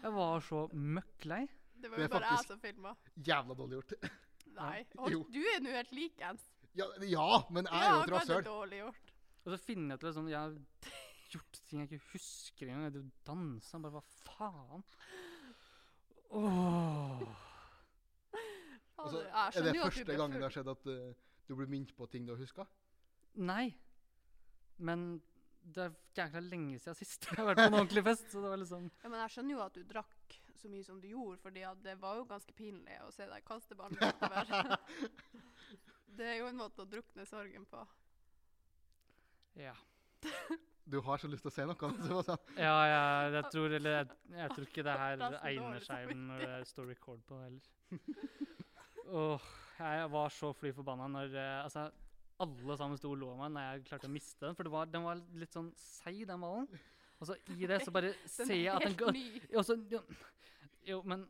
B: Jeg var så møkk lei.
A: Det var
C: Det
A: jo
C: er
A: bare
C: faktisk-
A: jeg som filma.
C: Jævla dårlig gjort.
A: Nei.
C: Jo.
A: Og du er nå helt likens.
C: Ja, ja men jeg er
A: Ja,
C: jo et
A: hva er det
C: rasshøl.
A: dårlig gjort?
B: Og så finner jeg til liksom, jeg har gjort ting jeg ikke husker engang. Jeg drev og dansa, bare hva faen? Åh.
C: Altså,
A: Ja, jeg
C: er det
A: skjønner jo at du
C: første
A: ble
C: gangen
A: full.
C: det har skjedd at eh, du blir minnet på ting du har huska?
B: Nei. Men det er jækla lenge siden sist jeg har vært på en ordentlig fest. Så det var liksom
A: Ja, men jeg skjønner jo at du drakk så mye som du gjorde, fordi at det var jo ganske pinlig å se deg kaste ballen utover. det er jo en måte å drukne sorgen på.
B: Ja,
C: Du har så lyst til å si noe. Så var det sånn.
B: ja jeg, jeg tror Eller jeg, jeg tror ikke det her
A: Det er så
B: egner
A: dårlig
B: seg når det står record på det heller. Åh, jeg var så fly forbanna når eh, Altså, alle sammen sto og lo av meg når jeg klarte å miste den. For det var, den var litt sånn seig, den ballen. Og så i det så bare
A: Den
B: ser jeg at den
A: helt
B: går
A: ny.
B: Jo, så- jo, jo, men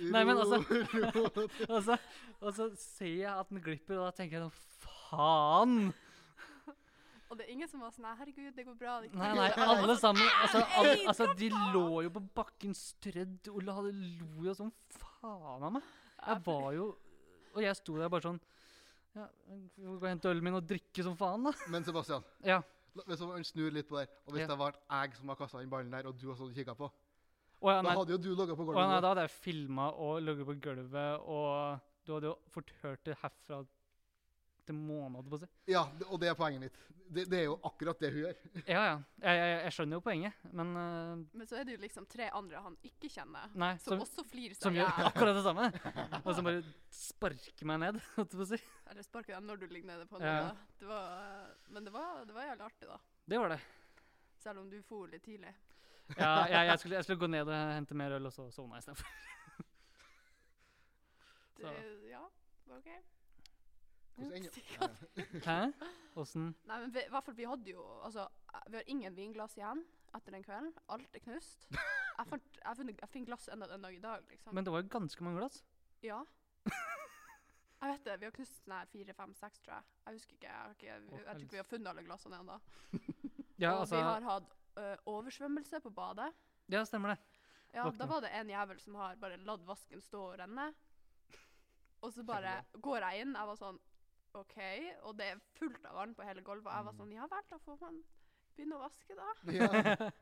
B: Nei, men altså-
C: Ro, ro.
B: og så, og så ser jeg at den glipper, og da tenker jeg sånn Faen!
A: Og det er ingen som var sånn «Nei, 'herregud, det går bra'. Det går
B: Nei,
A: bra».
B: nei, alle sammen altså, alle,
A: Ei,
B: altså, De lå jo på bakken strødd og la det lo jo sånn faen av meg. Jeg var jo Og jeg sto der bare sånn Ja, vi får gå og hente ølen min og drikke som faen, da.
C: Men Sebastian,
B: Ja.
C: la- hvis han snur litt på der, og hvis
B: Ja.
C: det var jeg som har kasta den ballen der, og du har stått og kikka på,
B: Å ja,
C: da
B: nei,
C: hadde jo du ligget på
B: å, ja, nei,
C: gulvet.
B: da hadde jeg filma og ligget på gulvet, og du hadde jo fort hørt det herfra til månen, holdt jeg på å si.
C: ja, det- og det er poenget mitt. Det, det er jo akkurat det hun gjør.
B: Ja, ja. Jeg, jeg, jeg skjønner jo poenget, men eh,
A: Men så er det jo liksom tre andre han ikke kjenner,
B: Nei.
A: som,
B: Som,
A: også sånn, flirer seg
B: som
A: i
B: gjør
A: hjel.
B: akkurat det samme. Og som bare sparker meg ned, holdt jeg på å si.
A: Eller sparker dem når du ligger nede på den. da.
B: Ja.
A: Det var, men det var, det var jævlig artig, da.
B: Det var det.
A: Selv om du for litt tidlig.
B: Ja, jeg, jeg, skulle, jeg skulle gå ned og hente mer øl, og så sovna jeg istedenfor.
A: Det, ja, OK.
C: Hvordan ender-
A: Stikker
C: Nei.
B: Hæ? Åssen?
A: Nei, men vi, i hvert fall, vi hadde jo altså, eh, Vi har ingen vinglass igjen etter den kvelden. Alt er knust. Jeg fant, jeg funnet, jeg finner glass enda den dag i dag, liksom.
B: Men det var jo ganske mange glass.
A: ja. Jeg vet det. Vi har knust sånn her fire, fem, seks, tror jeg. Jeg husker ikke. Jeg, har ikke, jeg, jeg tror ikke vi har funnet alle glassene ennå.
B: Ja,
A: Og
B: altså,
A: vi har hatt ø, oversvømmelse på badet.
B: ja stemmer det.
A: Ja,
B: Våkna.
A: da var det en jævel som har bare latt vasken stå og renne. Og så bare går jeg inn. Jeg var sånn OK. Og det er fullt av vann på hele gulvet. Og jeg
B: Mm.
A: var sånn Ja vel, da får man begynne å vaske, da.
C: Ja.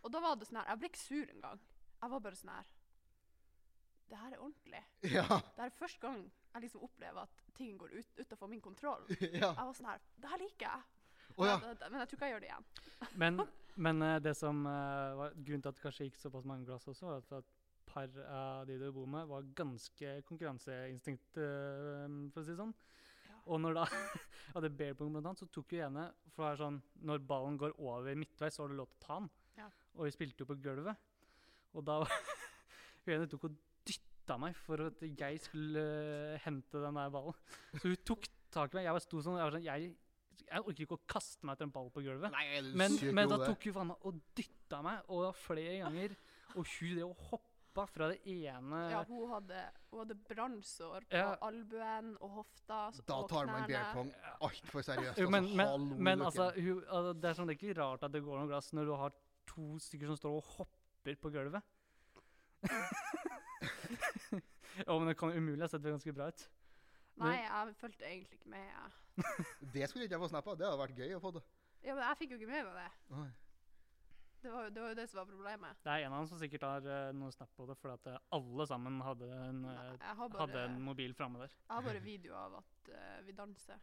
A: Og da var det sånn her Jeg ble ikke sur engang. Jeg var bare sånn her Det her er ordentlig.
C: Ja.
A: Det her er første gang jeg liksom opplever at ting går ut, utenfor min kontroll. Jeg
C: ja.
A: var sånn her Det her liker jeg.
C: Å ja.
A: Men, men jeg tror ikke jeg gjør det igjen.
B: Men, men eh, det som eh, var grunnen til at det kanskje gikk såpass mange glass også, var at et par av de du bor med, var ganske konkurranseinstinkt, eh, for å si det sånn.
A: Ja.
B: Og når da hadde bear pong blant annet, så tok jo ene For det er sånn, når ballen går over midtveis, så har du lov til å ta den.
A: Ja.
B: Og vi spilte jo på gulvet. Og da var- Hun ene tok og dytta meg for at jeg skulle eh, hente den der ballen. Så hun tok tak i meg. Jeg bare sto sånn, jeg var sånn jeg, jeg orker ikke å kaste meg etter en ball på gulvet.
C: Nei, er du
B: Men,
C: syk i
B: men da
C: hodet?
B: tok hun faen meg og dytta meg, og det var flere ganger. Og hun det og hoppa fra det ene
A: Ja, hun hadde, hun hadde brannsår på
B: Ja.
A: albuen og hofta s-
C: Da
A: og
C: tar man
A: knærne.
C: beer pong altfor seriøst.
B: Jo,
C: Altså,
B: men, men,
C: hallo,
B: men
C: dere.
B: altså, hun, altså, det er sånn, det er ikke rart at det går noen glass når du har to stykker som står og hopper på gulvet. ja, men det kan umulig ha sett ganske bra ut.
A: Nei, jeg fulgte egentlig ikke med. Jeg.
C: Det skulle ikke jeg få snap av. Det hadde vært gøy å få det.
A: Ja, men jeg fikk jo ikke med meg det.
C: Nei.
A: Det var, jo- det var jo det som var problemet.
B: Det er en av dem som sikkert har eh, noe snap på det, fordi at eh, alle sammen hadde en, eh,
A: Nei, Jeg har
B: hadde
A: bare,
B: en mobil framme der.
A: jeg har bare video av at eh, vi danser.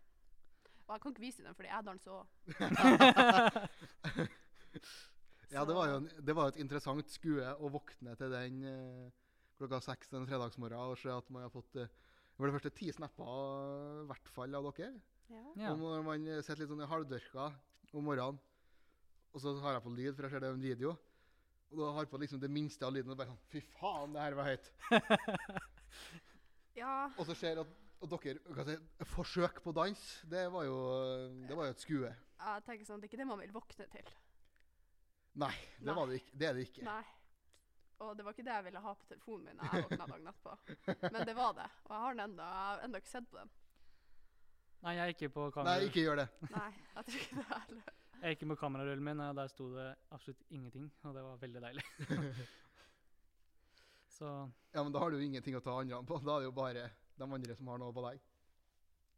A: Og jeg kan ikke vise den, fordi jeg danser òg.
C: Ja, det var jo en, det var jo et interessant skue å våkne til den eh, klokka seks en fredagsmorgen og se at man har fått eh, for det første ti snapper i hvert fall av dere.
A: Ja.
B: Ja.
C: Og når man eh, sitter litt sånn i halvdørka om morgenen, og så har jeg på lyd, for jeg ser det er en video, og da har jeg på liksom det minste av lyden og bare sånn Fy faen, det her var høyt.
A: ja.
C: Og så ser jeg at og dere hva skal jeg si, Forsøk på dans, det var jo, det var jo et skue.
A: Jeg tenker sånn, det er ikke det man vil våkne til.
C: Nei, det,
A: Nei.
C: var det, ikke, det er det ikke.
A: Nei. Og det var ikke det jeg ville ha på telefonen min da jeg våkna dagen etterpå. Men det var det. Og jeg har den enda, jeg har enda ikke sett på den.
B: Nei, jeg gikk på,
C: Nei,
B: kamera,
C: ikke gjør det.
A: Nei, jeg tror ikke det heller.
B: jeg gikk på kamerarullen min, og der sto det absolutt ingenting, og det var veldig deilig. Så
C: Ja, men da har du jo ingenting å ta andre på. Da er det jo bare de andre som har noe på deg.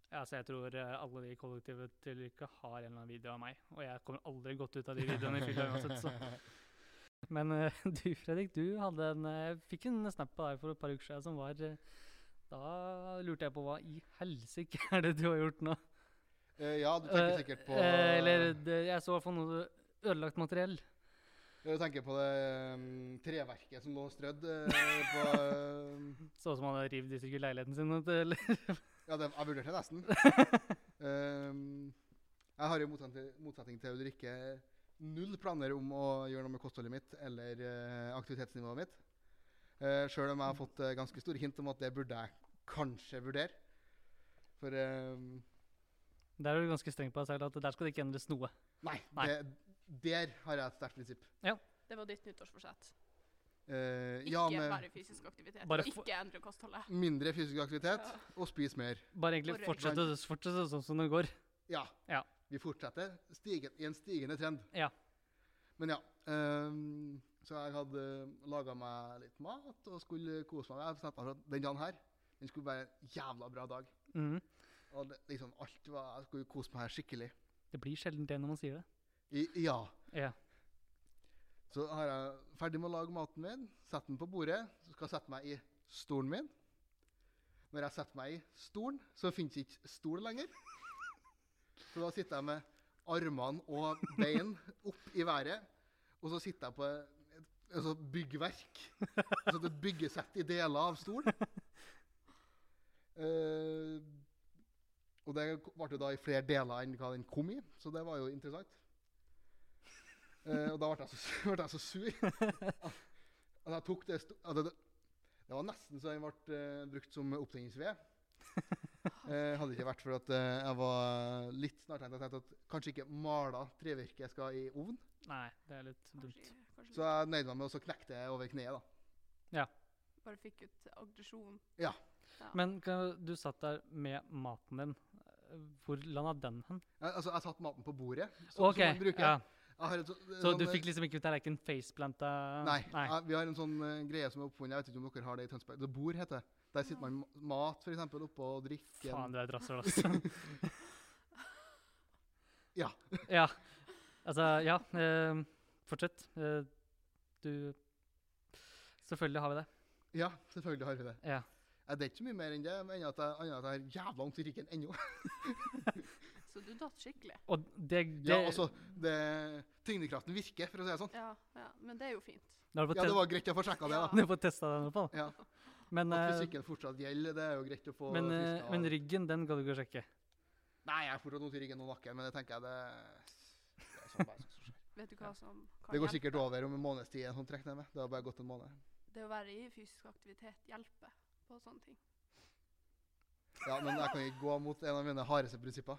B: Ja, så jeg tror eh, alle de i kollektivet til Lykke har en eller annen video av meg. Og jeg kommer aldri godt ut av de videoene i fylla uansett, så. Men eh, du, Fredrik, du hadde en, eh, fikk en snap av deg for et par uker siden som var eh, Da lurte jeg på hva i helsike er det du har gjort nå?
C: Eh, ja, du tenker
B: Eh,
C: sikkert på
B: eh, Eller det, jeg så i hvert fall noe ødelagt materiell.
C: Ja, Du tenker på det mm, treverket som lå strødd eh, på eh,
B: Så ut som han hadde revet i stykker leiligheten sin. Eller?
C: Ja, det, jeg vurderte nesten. Ehm, jeg har i motsetning, motsetning til Ulrikke null planer om å gjøre noe med kostholdet mitt eller eh, aktivitetsnivået mitt. Uh, Sjøl om jeg har fått eh, ganske store hint om at det burde jeg kanskje vurdere. For ehm,
B: Der er du ganske streng på deg selv at der skal det ikke endres noe.
C: nei,
B: Nei.
C: Det, der har jeg et sterkt prinsipp.
A: Det var ditt nyttårsforsett.
C: Eh,
A: Ikke
C: ja, med
A: være i fysisk aktivitet.
B: Bare
A: og
B: for-
A: Ikke endre kostholdet.
C: mindre fysisk aktivitet
A: Ja.
C: og spis mer.
B: Bare egentlig
A: Og røyk.
B: fortsette, fortsette sånn som det går.
C: Ja.
B: Ja.
C: Vi fortsetter stige, i en stigende trend.
B: Ja.
C: Men ja. ehm, så jeg hadde laga meg litt mat og skulle kose meg. Jeg bestemte meg for at den dagen her den skulle være en jævla bra dag.
B: Mhm.
C: Og det, liksom alt var, Jeg skulle kose meg her skikkelig.
B: Det blir sjelden det når man sier det.
C: I, ja.
B: Ja.
C: Så har jeg ferdig med å lage maten min, sette den på bordet. Så skal jeg sette meg i stolen min. Når jeg setter meg i stolen, så finnes ikke stol lenger. Så da sitter jeg med armene og bein opp i været, og så sitter jeg på et, altså et sånt byggverk. Så det byggesett i deler av stol. Eh, og det ble jo da i flere deler enn hva den kom i, så det var jo interessant. Eh, og da ble jeg så, su- ble jeg så sur at jeg tok det, sto at det Det var nesten så den ble eh, brukt som opptenningsved. Eh, hadde det ikke vært for at eh, jeg var litt snartenkt og tenkte at kanskje ikke mala trevirke skal i ovn.
B: Nei, det er litt dumt.
A: Kanskje, kanskje
C: Så jeg nøyde meg med å så knekke det over kneet. da.
A: du bare fikk ut aggresjon.
B: Men kan, du satt der med maten din. Hvor landa den hen?
C: Jeg, altså, jeg satte maten på bordet. Så,
B: Ok,
C: som man bruker.
B: ja.
C: Jeg har et så,
B: Så du
C: sånn, eh,
B: fikk liksom ikke tallerken faceplanta?
C: Nei. jeg- Vi har en sånn eh, greie som er oppfunnet. Jeg vet ikke om dere har det i Tønsberg. Det bord heter det. Der sitter man ma- mat for eksempel, oppå og drikker.
B: Faen, du er et rasshøl, altså.
C: Ja.
B: ja. Altså, ja. Eh, fortsett. Eh, du Selvfølgelig har vi det.
C: Ja, selvfølgelig har vi det.
B: Ja.
C: Eh, Det er ikke så mye mer enn det, men annet at jeg, annet at jeg har jævla vondt i ryggen ennå.
A: Så du datt skikkelig.
B: Og det, det
C: Ja, altså, det, tyngdekraften virker, for å si det sånn.
A: Ja, ja, men det er jo fint.
B: Nå har du
C: Ja, det
B: fått
C: var greit å få sjekka det, da.
A: Ja.
B: testa den i hvert fall.
C: Ja,
B: Men,
C: At
B: eh,
C: fysikken fortsatt gjelder, det er jo greit å få
B: men, eh,
C: friska av.
B: men ryggen, den ga du ikke å sjekke.
C: Nei, jeg har fortsatt vondt i ryggen og nakken, men det tenker jeg det, det er sånn bare sånn som skjer.
A: Vet du hva som kan
C: Det går
A: hjelpe?
C: sikkert over om en måneds tid, en sånn trekk ned med. Det har bare gått en måned.
A: det å være i fysisk aktivitet hjelper på sånne ting.
C: Ja, men jeg kan ikke gå mot en av mine hardeste prinsipper.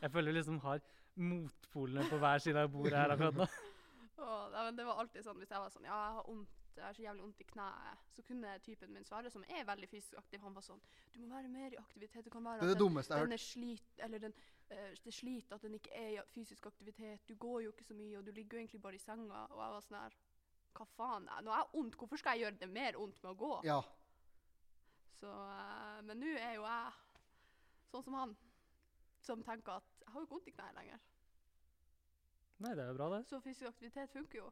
B: Jeg føler vi liksom har motpolene på hver side av bordet her akkurat nå.
A: Og, ja, men det var alltid sånn, Hvis jeg var sånn ja, jeg har vondt, jeg har så jævlig vondt i kneet, så kunne typen min svare, som er veldig fysisk aktiv, han var sånn Du må være mer i aktivitet. Det kan være
C: Det er
A: at
C: det
A: den,
C: dummeste jeg har
A: den
C: hørt.
A: er slit, eller den, eh, det sliter at den ikke er i a- fysisk aktivitet. Du går jo ikke så mye, og du ligger jo egentlig bare i senga. Og jeg var sånn her Hva faen? Jeg, nå har jeg vondt, hvorfor skal jeg gjøre det mer vondt med å gå?
C: Ja.
A: Så, eh, men nå er jo jeg sånn som han, som tenker at jeg har jo ikke vondt i kneet lenger.
B: Nei, det er jo bra, det.
A: Så fysisk aktivitet funker jo.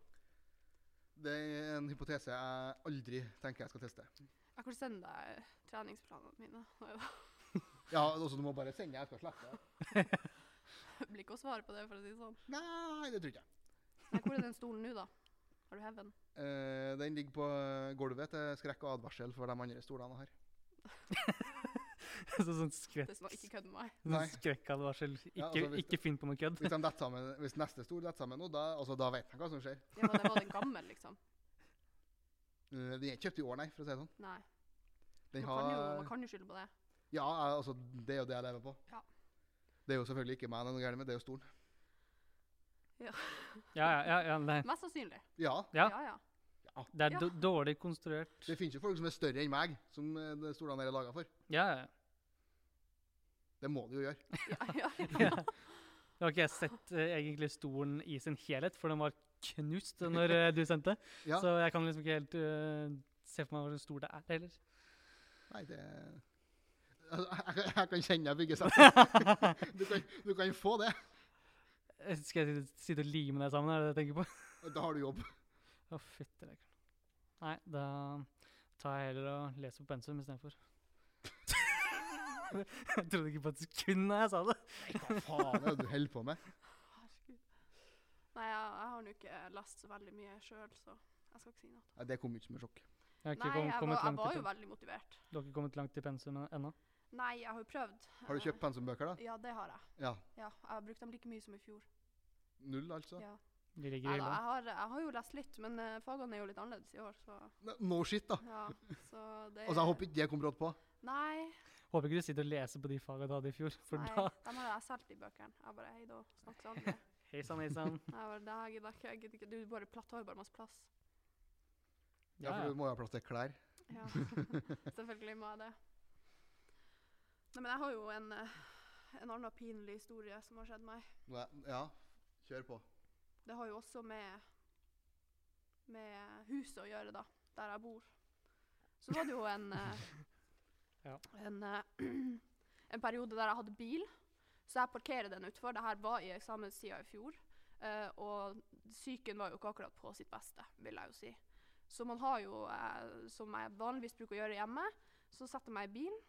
C: Det er en hypotese jeg aldri tenker jeg skal teste.
A: Jeg kan sende deg eh, treningsplanene mine. Nei da.
C: Ja, også Du må bare sende, jeg skal slette. det.
A: Det blir ikke å svare på det, for å si det sånn.
C: Nei, det tror ikke jeg.
A: Nei, hvor er den stolen nå, da? Har du hevet den?
C: Eh, den ligger på eh, gulvet til skrekk og advarsel for de andre stolene jeg har.
B: Så sånn skrekk,
A: Det er sånn, ikke kødd med meg.
B: sånn
C: Nei.
B: skrekkadvarsel.
C: Ja,
B: Ikke,
C: altså, hvis
B: ikke finn på noe kødd.
C: Hvis, de detter sammen, hvis neste stol detter sammen nå, da, altså, da vet jeg hva som skjer.
A: Ja, men det var den gammel, liksom.
C: Eh, Den er ikke kjøpt i år, nei, for å si det sånn.
A: Nei. Man
C: Den
A: kan jo, man
C: har,
A: kan jo skylde på det.
C: ja, jeg- altså, det er jo det jeg lever på.
A: Ja.
C: Det er jo selvfølgelig ikke meg det er noe gærent med, det er jo stolen.
B: Ja, ja, ja, ja, nei.
A: Mest sannsynlig.
C: Ja,
B: Ja.
A: ja. ja.
B: Det er
A: Ja.
B: d- dårlig konstruert.
C: det finnes jo folk som er større enn meg, som eh, de stolene her er laga for.
B: Ja, ja.
C: Det må de jo gjøre.
A: ja, ja.
B: ja. Nå har ikke jeg sett eh, egentlig stolen i sin helhet, for den var knust når eh, du sendte.
C: Ja,
B: Så jeg kan liksom ikke helt eh, se for meg hvor stor det er heller.
C: nei, det altså, jeg, jeg- jeg kan kjenne jeg bygger seg. Du kan, du kan få det.
B: Eh, Skal jeg sitte- sitte og lime deg sammen, er det det jeg tenker på?
C: Da har du jobb.
B: Å, fytti rakkeren. Nei, da tar jeg heller og leser på pensum istedenfor. jeg trodde ikke på et sekund da jeg sa det.
C: Nei, hva faen er det du holder på med?
A: Herregud. Nei, jeg, jeg har nå ikke lest så veldig mye sjøl, så jeg skal ikke si noe.
C: Nei, det kom ikke som et sjokk.
B: Jeg har ikke
A: Nei,
B: kom,
A: jeg
B: kommet
A: var, jeg
B: langt i
A: var jo
B: pen-
A: veldig motivert.
B: Du har ikke kommet langt i pensum ennå?
A: Nei, jeg har jo prøvd. Eh,
C: Har du kjøpt pensumbøker, da?
A: Ja, det har jeg.
C: Ja.
A: Ja, jeg har brukt dem like mye som i fjor.
C: Null, altså?
A: Ja.
B: De ligger
A: Nei,
B: i
A: da,
B: hylla.
A: jeg, har, jeg har jo lest litt, men eh, fagene er jo litt annerledes i år, så
C: Ne- No shit, da.
A: ja. Så det
C: Altså, Jeg håper ikke det kom brått på.
A: Nei,
B: Håper ikke du sitter og leser på de faga du hadde i fjor, for
A: Nei,
B: da
A: de har jeg solgt, de bøkene. Jeg bare hei, da. Snakk til andre.
B: Hei sann, hei sann.
A: Jeg bare, nei, jeg gidder ikke, jeg gidder ikke. Du er bare platt hår, bare masse plass.
C: Ja, for du må jo ha plass til klær.
A: Ja, selvfølgelig må jeg det. Nei, men jeg har jo en, eh, en annen pinlig historie som har skjedd meg.
C: Nei, Ja, kjør på.
A: Det har jo også med, med huset å gjøre, da, der jeg bor. Så var det jo en, eh,
B: Ja.
A: en, eh, en periode der jeg hadde bil, så jeg parkerer den utenfor. Dette var i eksamenstida i fjor, eh, og psyken var jo ikke akkurat på sitt beste, vil jeg jo si. Så man har jo, eh, som jeg vanligvis bruker å gjøre hjemme, så setter jeg meg i bilen,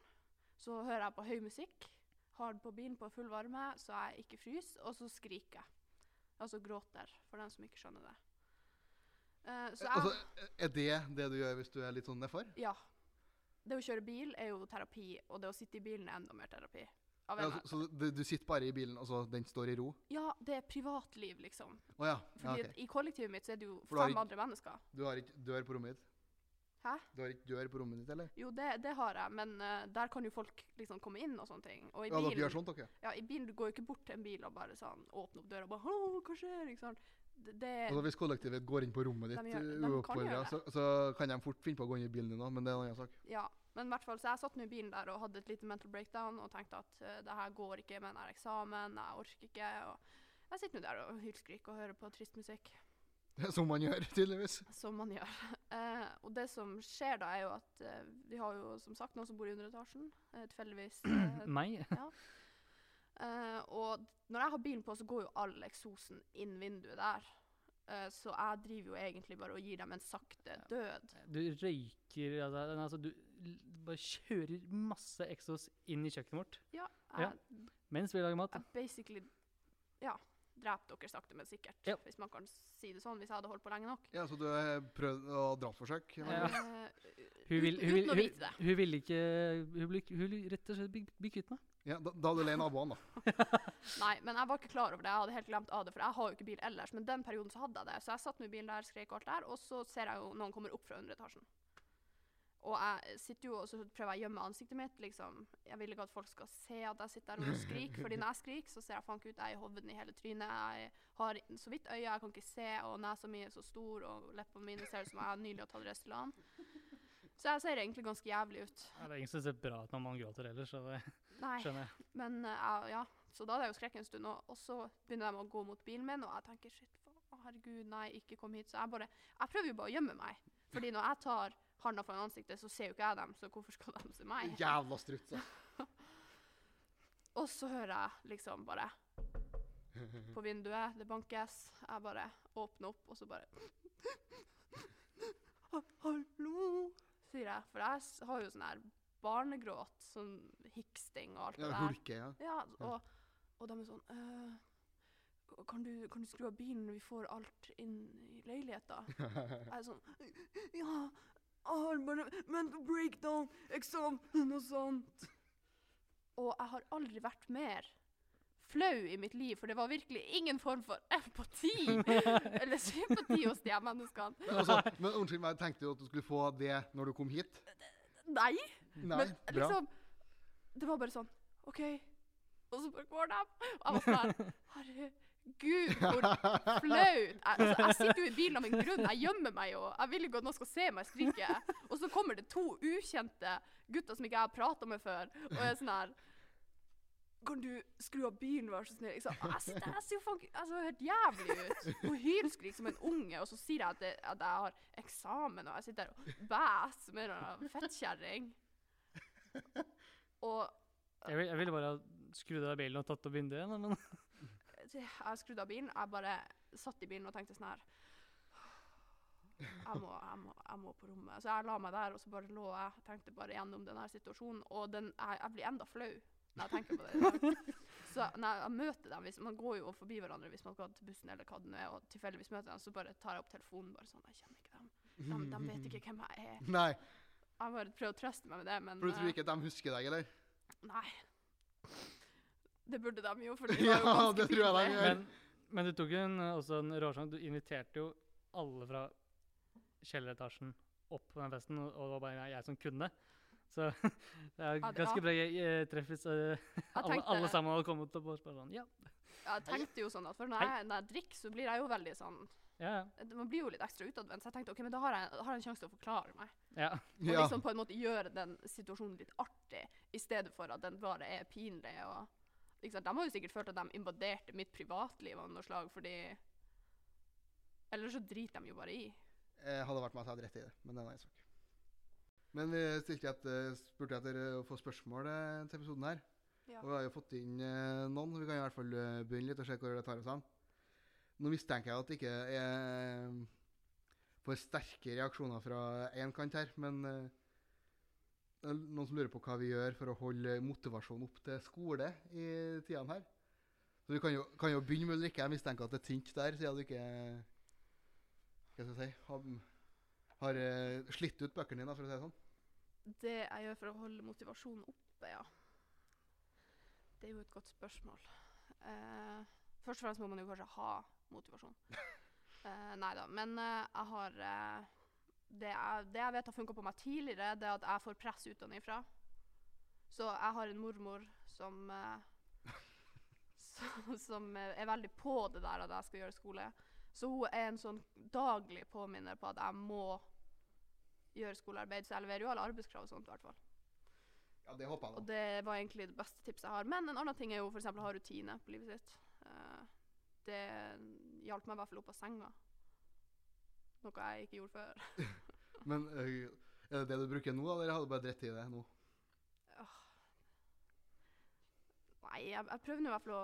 A: så hører jeg på høy musikk, hard på bilen på full varme, så jeg ikke fryser, og så skriker jeg. Altså gråter, for dem som ikke skjønner det. Eh, så jeg,
C: Altså, Er det det du gjør hvis du er litt sånn nedfor?
A: ja. Det å kjøre bil er jo terapi, og det å sitte i bilen er enda mer terapi. Av en eller
C: Ja, så
A: annen-
C: Altså, så du, du sitter bare i bilen, og så den står i ro?
A: ja, det er privatliv, liksom.
C: Å ja. ja
A: Fordi
C: ok.
A: at I kollektivet mitt så er det jo
C: For du har
A: fem
C: ikke-
A: andre mennesker.
C: Du har ikke dør på rommet ditt?
A: Hæ?
C: Du har ikke dør på rommet ditt, eller?
A: Jo, det, det har jeg, men eh, der kan jo folk liksom komme inn og sånne ting. Og i
C: Ja,
A: bilen,
C: dere gjør sånt, dere?
A: ja, i bilen du går jo ikke bort til en bil og bare sånn, åpner opp døra og bare «Hallo, hva skjer? Ikke sant? Det, det,
C: Altså, hvis kollektivet går inn på rommet ditt
A: De gjør-
C: eh,
A: de kan
C: uoppfordret,
A: gjøre
C: så, så kan de fort finne på å gå inn i bilen din òg, men det er en annen sak.
A: Ja, men i hvert fall, så jeg satt nå i bilen der og hadde et lite mental breakdown og tenkte at eh, det her går ikke med den her eksamen, jeg orker ikke. Og jeg sitter nå der og hylskriker og hører på trist musikk,
C: Som man gjør, tydeligvis.
A: som man gjør. Eh, og det som skjer da, er jo at eh, vi har jo som sagt noen som bor i underetasjen, uh, tilfeldigvis. eh,
B: Meg?
A: Eh, og når jeg har bilen på, så går jo all eksosen inn vinduet der. Eh, så jeg driver jo egentlig bare og gir dem en sakte død.
B: Du røyker altså, nei, altså Du l- bare kjører masse Exos inn i kjøkkenet vårt
A: Ja,
B: Ja.
A: jeg,
B: mens vi lager mat.
A: jeg basically Ja. dreper dere sakte, men sikkert.
B: Ja.
A: Hvis man kan si det sånn, hvis jeg hadde holdt på lenge nok.
C: Ja, Så du har prøvd å ha drapsforsøk?
B: Ja.
C: Emanuel?
A: Eh,
B: Hun vil,
A: uten,
B: hun, vil,
A: uten å vite
B: hun,
A: det.
B: hun vil ikke Hun blir hun vil rett og slett bli bli kvitt meg.
C: Ja, da, da er du lei naboene, da.
A: Nei, men jeg var ikke klar over det. Jeg hadde helt glemt av det, for jeg har jo ikke bil ellers. Men den perioden så hadde jeg det. Så jeg satt med bilen der, skrek og alt der, og så ser jeg jo noen kommer opp fra underetasjen. Og jeg sitter jo og så prøver jeg å gjemme ansiktet mitt. liksom. Jeg vil ikke at folk skal se at jeg sitter der og skriker. fordi når jeg skriker, så ser jeg faen ikke ut. Jeg er i hoven i hele trynet. Jeg har i- så vidt øyet, jeg kan ikke se, og nesa mi er så stor, og leppene mine ser ut som jeg nylig har tatt Restylane. Så jeg ser egentlig ganske jævlig ut.
B: Ja, Det er ingen som ser bra ut når man gråter heller, så det
A: Nei.
B: skjønner jeg.
A: Men eh, jeg- ja, så da hadde jeg jo skrekk en stund, og, og så begynner de å gå mot bilen min, og jeg tenker shit, fa- å, herregud, nei, ikke kom hit. Så jeg bare, jeg prøver jo bare å gjemme meg. Fordi når jeg tar handa foran ansiktet, så ser jo ikke jeg dem, så hvorfor skal de se meg?
C: Jævla strutser.
A: Og så hører jeg liksom bare på vinduet, det bankes. Jeg bare åpner opp, og så bare «Ha- Hallo, sier jeg. For jeg s- har jo sånn her barnegråt, sånn hiksting og alt
C: Ja,
A: det der.
C: hulke, ja.
A: Ja, og, og de er sånn «Øh, kan, du, kan du skru av bilen når vi får alt inn i leiligheta? Jeg er sånn Ja, jeg har bare mental breakdown, eksamen og sånt. Og jeg har aldri vært mer flau i mitt liv, for det var virkelig ingen form for empati eller sympati hos de her menneskene.
C: Men, altså, men unnskyld meg, tenkte du at du skulle få det når du kom hit?
A: Nei.
C: Nei,
A: Men
C: bra.
A: liksom Det var bare sånn OK. Og så bare går de. Og jeg var sånn her, Herregud, hvor flaut. Jeg, altså, jeg sitter jo i bilen av en grunn. Jeg gjemmer meg jo. Jeg vil ikke at noen skal se meg skrike. Og så kommer det to ukjente gutter som ikke jeg har prata med før, og er sånn her kan du skru av bilen, vær så snill? Jeg, sa, jeg, sitter- jeg ser jo faen ikke- jeg ser jo helt jævlig ut. Og hylskrik som en unge, og så sier jeg at, det, at jeg har eksamen, og jeg sitter der og bæsjer som en eller annen fettkjerring. Og
B: Jeg, vil, jeg ville bare ha skrudd av bilen og tatt opp vinduet igjen, men
A: det- jeg skrudde av bilen. Jeg bare satt i bilen og tenkte sånn her jeg må, jeg, må, jeg må på rommet. Så jeg la meg der og så bare lå jeg og tenkte bare gjennom denne situasjonen. Og den, jeg, jeg blir enda flau når jeg tenker på det. i dag. Så når jeg møter dem, hvis, Man går jo forbi hverandre hvis man skal til bussen eller hva det nå er, og tilfeldigvis møter dem, så bare tar jeg opp telefonen bare sånn Jeg kjenner ikke dem. De,
C: Mm.
A: de vet ikke hvem jeg er.
C: Nei,
A: Jeg bare prøver å trøste meg med det, men
C: for du tror
A: eh,
C: ikke at de husker deg, eller?
A: Nei. Det burde de jo, for det var jo
C: Ja,
A: ganske
C: det tror jeg de
A: pinlig.
C: gjør.
B: Men, men du tok jo en, eh, også en råsjanse. Du inviterte jo alle fra kjelleretasjen opp på den festen, og og det var bare jeg som kunne. Så det er
A: Ja, det-
B: ganske
A: ja.
B: bra jeg, jeg treffer så, eh,
A: Jeg
B: alle,
A: tenkte-
B: alle sammen hadde kommet opp og spørt sånn Ja,
A: Jeg tenkte jo sånn at for når jeg, når jeg drikker, så blir jeg jo veldig sånn
B: ja,
A: Man blir jo litt ekstra utadvendt. Så jeg tenkte ok, men da har jeg, da har jeg en sjanse til å forklare meg.
B: ja.
A: Og
C: Ja.
A: liksom på en måte gjøre den situasjonen litt artig, i stedet for at den bare er pinlig. og ikke sant? De har jo sikkert følt at de invaderte mitt privatliv av noe slag, fordi Eller så driter de jo bare i.
C: Eh, hadde vært meg, så hadde jeg rett i det. Men det er en annen sak. Men vi stilte et, eh, spurte etter eh, å få spørsmål eh, til episoden her.
A: Ja.
C: Og vi har jo fått inn eh, noen. Vi kan i hvert fall eh, begynne litt og se hvor det tar oss hen. Nå mistenker jeg at det ikke er eh, for sterke reaksjoner fra én kant her, men eh, det er noen som lurer på hva vi gjør for å holde motivasjonen opp til skole i tidene her. Så Vi kan jo, kan jo begynne med å drikke. Jeg mistenker at det er tynt der, siden du ikke hva skal jeg si, har, har eh, slitt ut bøkene dine, for å si det sånn.
A: Det jeg gjør for å holde motivasjonen oppe, ja. Det er jo et godt spørsmål. Eh, først og fremst må man jo kanskje ha motivasjon. uh, nei da. Men eh, jeg har eh, det, jeg, det jeg vet har funka på meg tidligere, det er at jeg får press utenfra. Så jeg har en mormor som eh, som, som eh, er veldig på det der at jeg skal gjøre skole. Så hun er en sånn daglig påminner på at jeg må gjøre skolearbeid, så jeg leverer jo alle arbeidskrav og sånt i hvert fall.
C: Ja, det håper
A: Og
C: jeg, da.
A: det var egentlig det beste tipset jeg har. Men en annen ting er jo f.eks. å ha rutine på livet sitt. Eh, det hjalp meg i hvert fall opp av senga. Noe jeg ikke gjorde før.
C: Men eh, er det det du bruker nå, eller har du bare dritt i det nå?
A: Nei, jeg, jeg prøver nå i hvert fall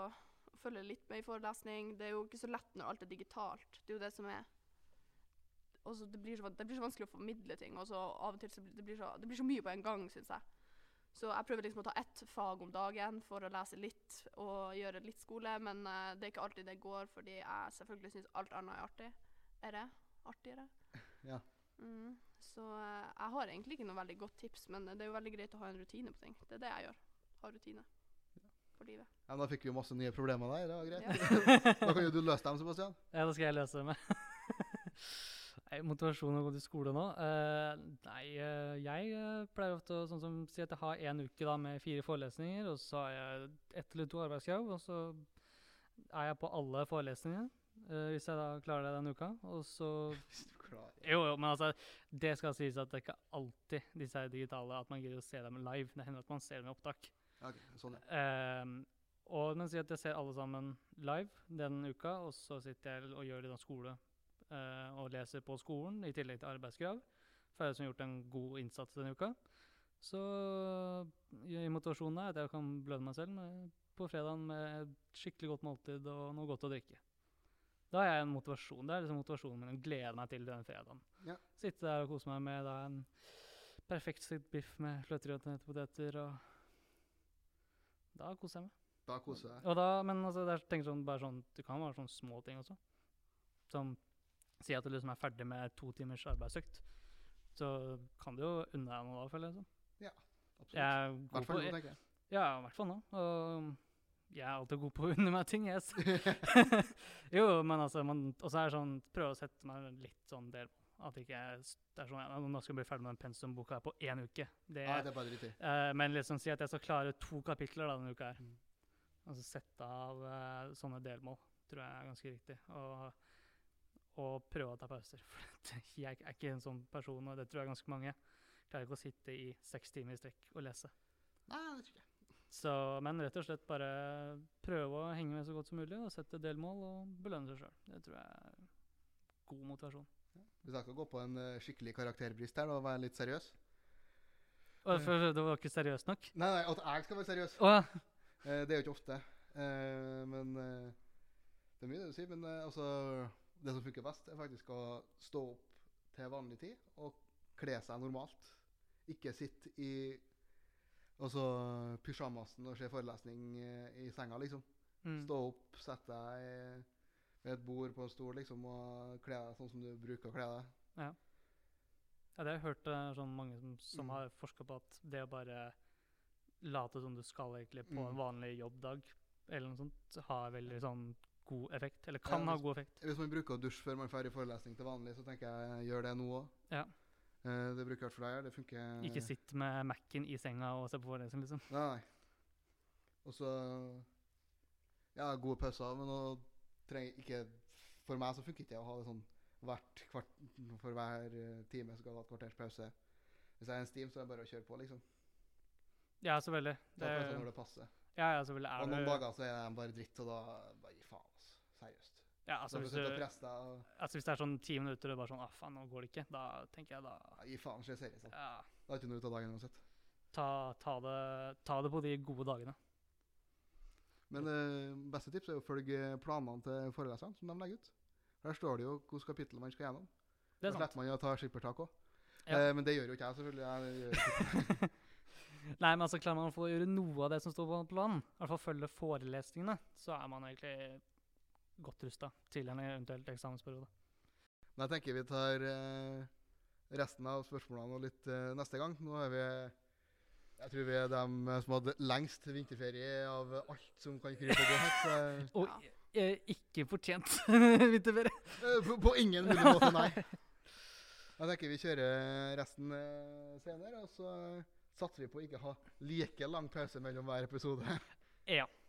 A: å følge litt med i forelesning. Det er jo ikke så lett når alt er digitalt. Det er jo det som er Og så det, blir så van- det blir så vanskelig å formidle ting. Og så av og til så blir det blir så, det blir så mye på en gang, syns jeg. Så jeg prøver liksom å ta ett fag om dagen for å lese litt og gjøre litt skole, men eh, det er ikke alltid det går, fordi jeg selvfølgelig syns alt annet er artig. Er det artigere?
C: Ja.
A: Mm. Så eh, jeg har egentlig ikke noe veldig godt tips, men det er jo veldig greit å ha en rutine på ting. Det er det jeg gjør. Ha rutine for livet.
C: Ja, men da fikk vi jo masse nye problemer der. Det var greit.
A: Ja.
C: da kan jo du løse dem, Sebastian.
B: Ja, da skal jeg løse det med. Nei, motivasjon å gå til skole nå? Eh, nei, eh, jeg eh, pleier ofte å sånn som, si at jeg har en uke da, med fire forelesninger, og så har jeg ett eller to arbeidskrav, og så er jeg på alle forelesningene. eh, hvis jeg da klarer det den uka. Og så
C: Hvis du klarer.
B: Jo, jo, men altså, det skal sies at det er ikke alltid disse her digitale at man gidder å se dem live. Det hender at man ser dem i opptak.
C: Ja, ok, sånn, ja.
B: Ehm, og men si at jeg ser alle sammen live den uka, og så sitter jeg og gjør litt av skole eh, og leser på skolen i tillegg til arbeidskrav. For jeg har liksom gjort en god innsats denne uka. Så i motivasjonen er at jeg kan bløde meg selv med, på fredagen med et skikkelig godt måltid og noe godt å drikke. Da har jeg en motivasjon. Det er liksom motivasjonen min. Jeg gleder meg til den fredagen.
C: Ja.
B: Sitte der og kose meg med da, en perfekt stekt biff med fløter og poteter. og da koser jeg meg.
C: Da koser jeg.
B: Og da, men altså, det er tenker sånn, bare sånn, det kan være sånne små ting også. Som si at du liksom er ferdig med to timers arbeidsøkt. Så kan du jo unne deg noe da, føler jeg. sånn.
C: Absolutt.
B: Jeg er
C: I
B: god
C: hvert
B: på,
C: fall nå, tenker jeg.
B: ja, i hvert fall nå. Og jeg er alltid god på å unne meg ting, jeg. så- jo, men altså, man, og så er det sånn, prøve å sette meg litt sånn del At ikke jeg s- det er sånn, ja, nå skal jeg bli ferdig med den pensumboka her på én uke. Det,
C: Nei, det er bare dritt i.
B: Eh, men liksom si at jeg skal klare to kapitler da, denne uka her.
C: Mm.
B: Altså sette av eh, sånne delmål, tror jeg er ganske riktig. Og, og prøve å ta pauser. For at jeg er ikke en sånn person, og det tror jeg er ganske mange. Klarer ikke å sitte i seks timer i strekk og lese.
C: Nei, det tror jeg.
B: Så, men rett og slett bare prøve å henge med så godt som mulig, og sette delmål og belønne seg sjøl. Det tror jeg er god motivasjon.
C: Hvis jeg skal gå på en eh, skikkelig karakterbrist her og være litt seriøs
B: Og for, det var ikke seriøst nok?
C: Nei, nei, at jeg skal være seriøs,
B: Å ja.
C: eh, det er jo ikke ofte. Eh, men eh, Det er mye det du sier, men eh, altså Det som funker best, er faktisk å stå opp til vanlig tid og kle seg normalt. Ikke sitte i altså, pysjamasen og se forelesning eh, i senga, liksom.
B: Mm.
C: Stå opp, sett deg eh, ved et bord på en stol liksom, og kle deg sånn som du bruker å kle deg.
B: Ja, det har jeg hørt eh, sånn mange som, som
C: Mm.
B: har forska på at det å bare late som du skal egentlig på
C: Mm.
B: en vanlig jobbdag, eller noe sånt, har veldig sånn god effekt. Eller
C: Ja,
B: kan ha
C: hvis-
B: god effekt.
C: Hvis man bruker å dusje før man drar i forelesning til vanlig, så tenker jeg gjør det nå òg.
B: Ja.
C: det bruker jeg for deg. Det funker
B: Ikke sitt med Mac-en i senga og se på forelesning, liksom.
C: Nei, nei. Og så Ja, gode pauser, men nå trenger jeg ikke For meg så funker ikke det å ha det sånn hvert kvart, for hver eh, time skal jeg ha et kvarters pause. Hvis jeg er en steam, så er det bare å kjøre på, liksom.
B: Ja, selvfølgelig.
C: Det,
B: Det,
C: er pauser når det passer.
B: ja, ja, selvfølgelig
C: og noen
B: er det
C: dager så er de bare dritt, og da bare gi faen, altså. Seriøst.
B: ja,
C: Så
B: altså,
C: får
B: hvis,
C: du sitte og
B: du,
C: presse deg og
B: altså, hvis det er sånn ti minutter og bare sånn ah, faen, nå går det ikke, da tenker jeg da
C: ja, Gi faen, se serien. sånn.
B: ja,
C: Da er det ikke noe ut av dagen uansett.
B: ta, ta, det, ta det på de gode dagene.
C: Men eh, beste tips er jo å følge eh, planene til foreleserne som de legger ut. Der står det jo hvilket kapittel man skal gjennom.
B: Det
C: Da
B: er sant.
C: slipper man jo å ta skippertak òg.
B: Ja.
C: men det gjør jo ikke jeg, selvfølgelig. Jeg gjør
B: Nei, men altså klarer man å få gjøre noe av det som står på planen, i hvert fall følge forelesningene, så er man egentlig godt rusta til en eventuell eksamensperiode.
C: Men jeg tenker vi tar eh, resten av spørsmålene og litt eh, neste gang. Nå er vi Jeg tror vi er dem eh, som hadde lengst vinterferie av alt som kan krype og gå her. Så,
B: Og
A: Ja.
B: eh, ikke fortjent, vinterferie.
C: eh, på, på ingen mulig måte, nei. Jeg tenker vi kjører resten eh, senere, og så satser vi på å ikke ha like lang pause mellom hver episode.
B: Ja.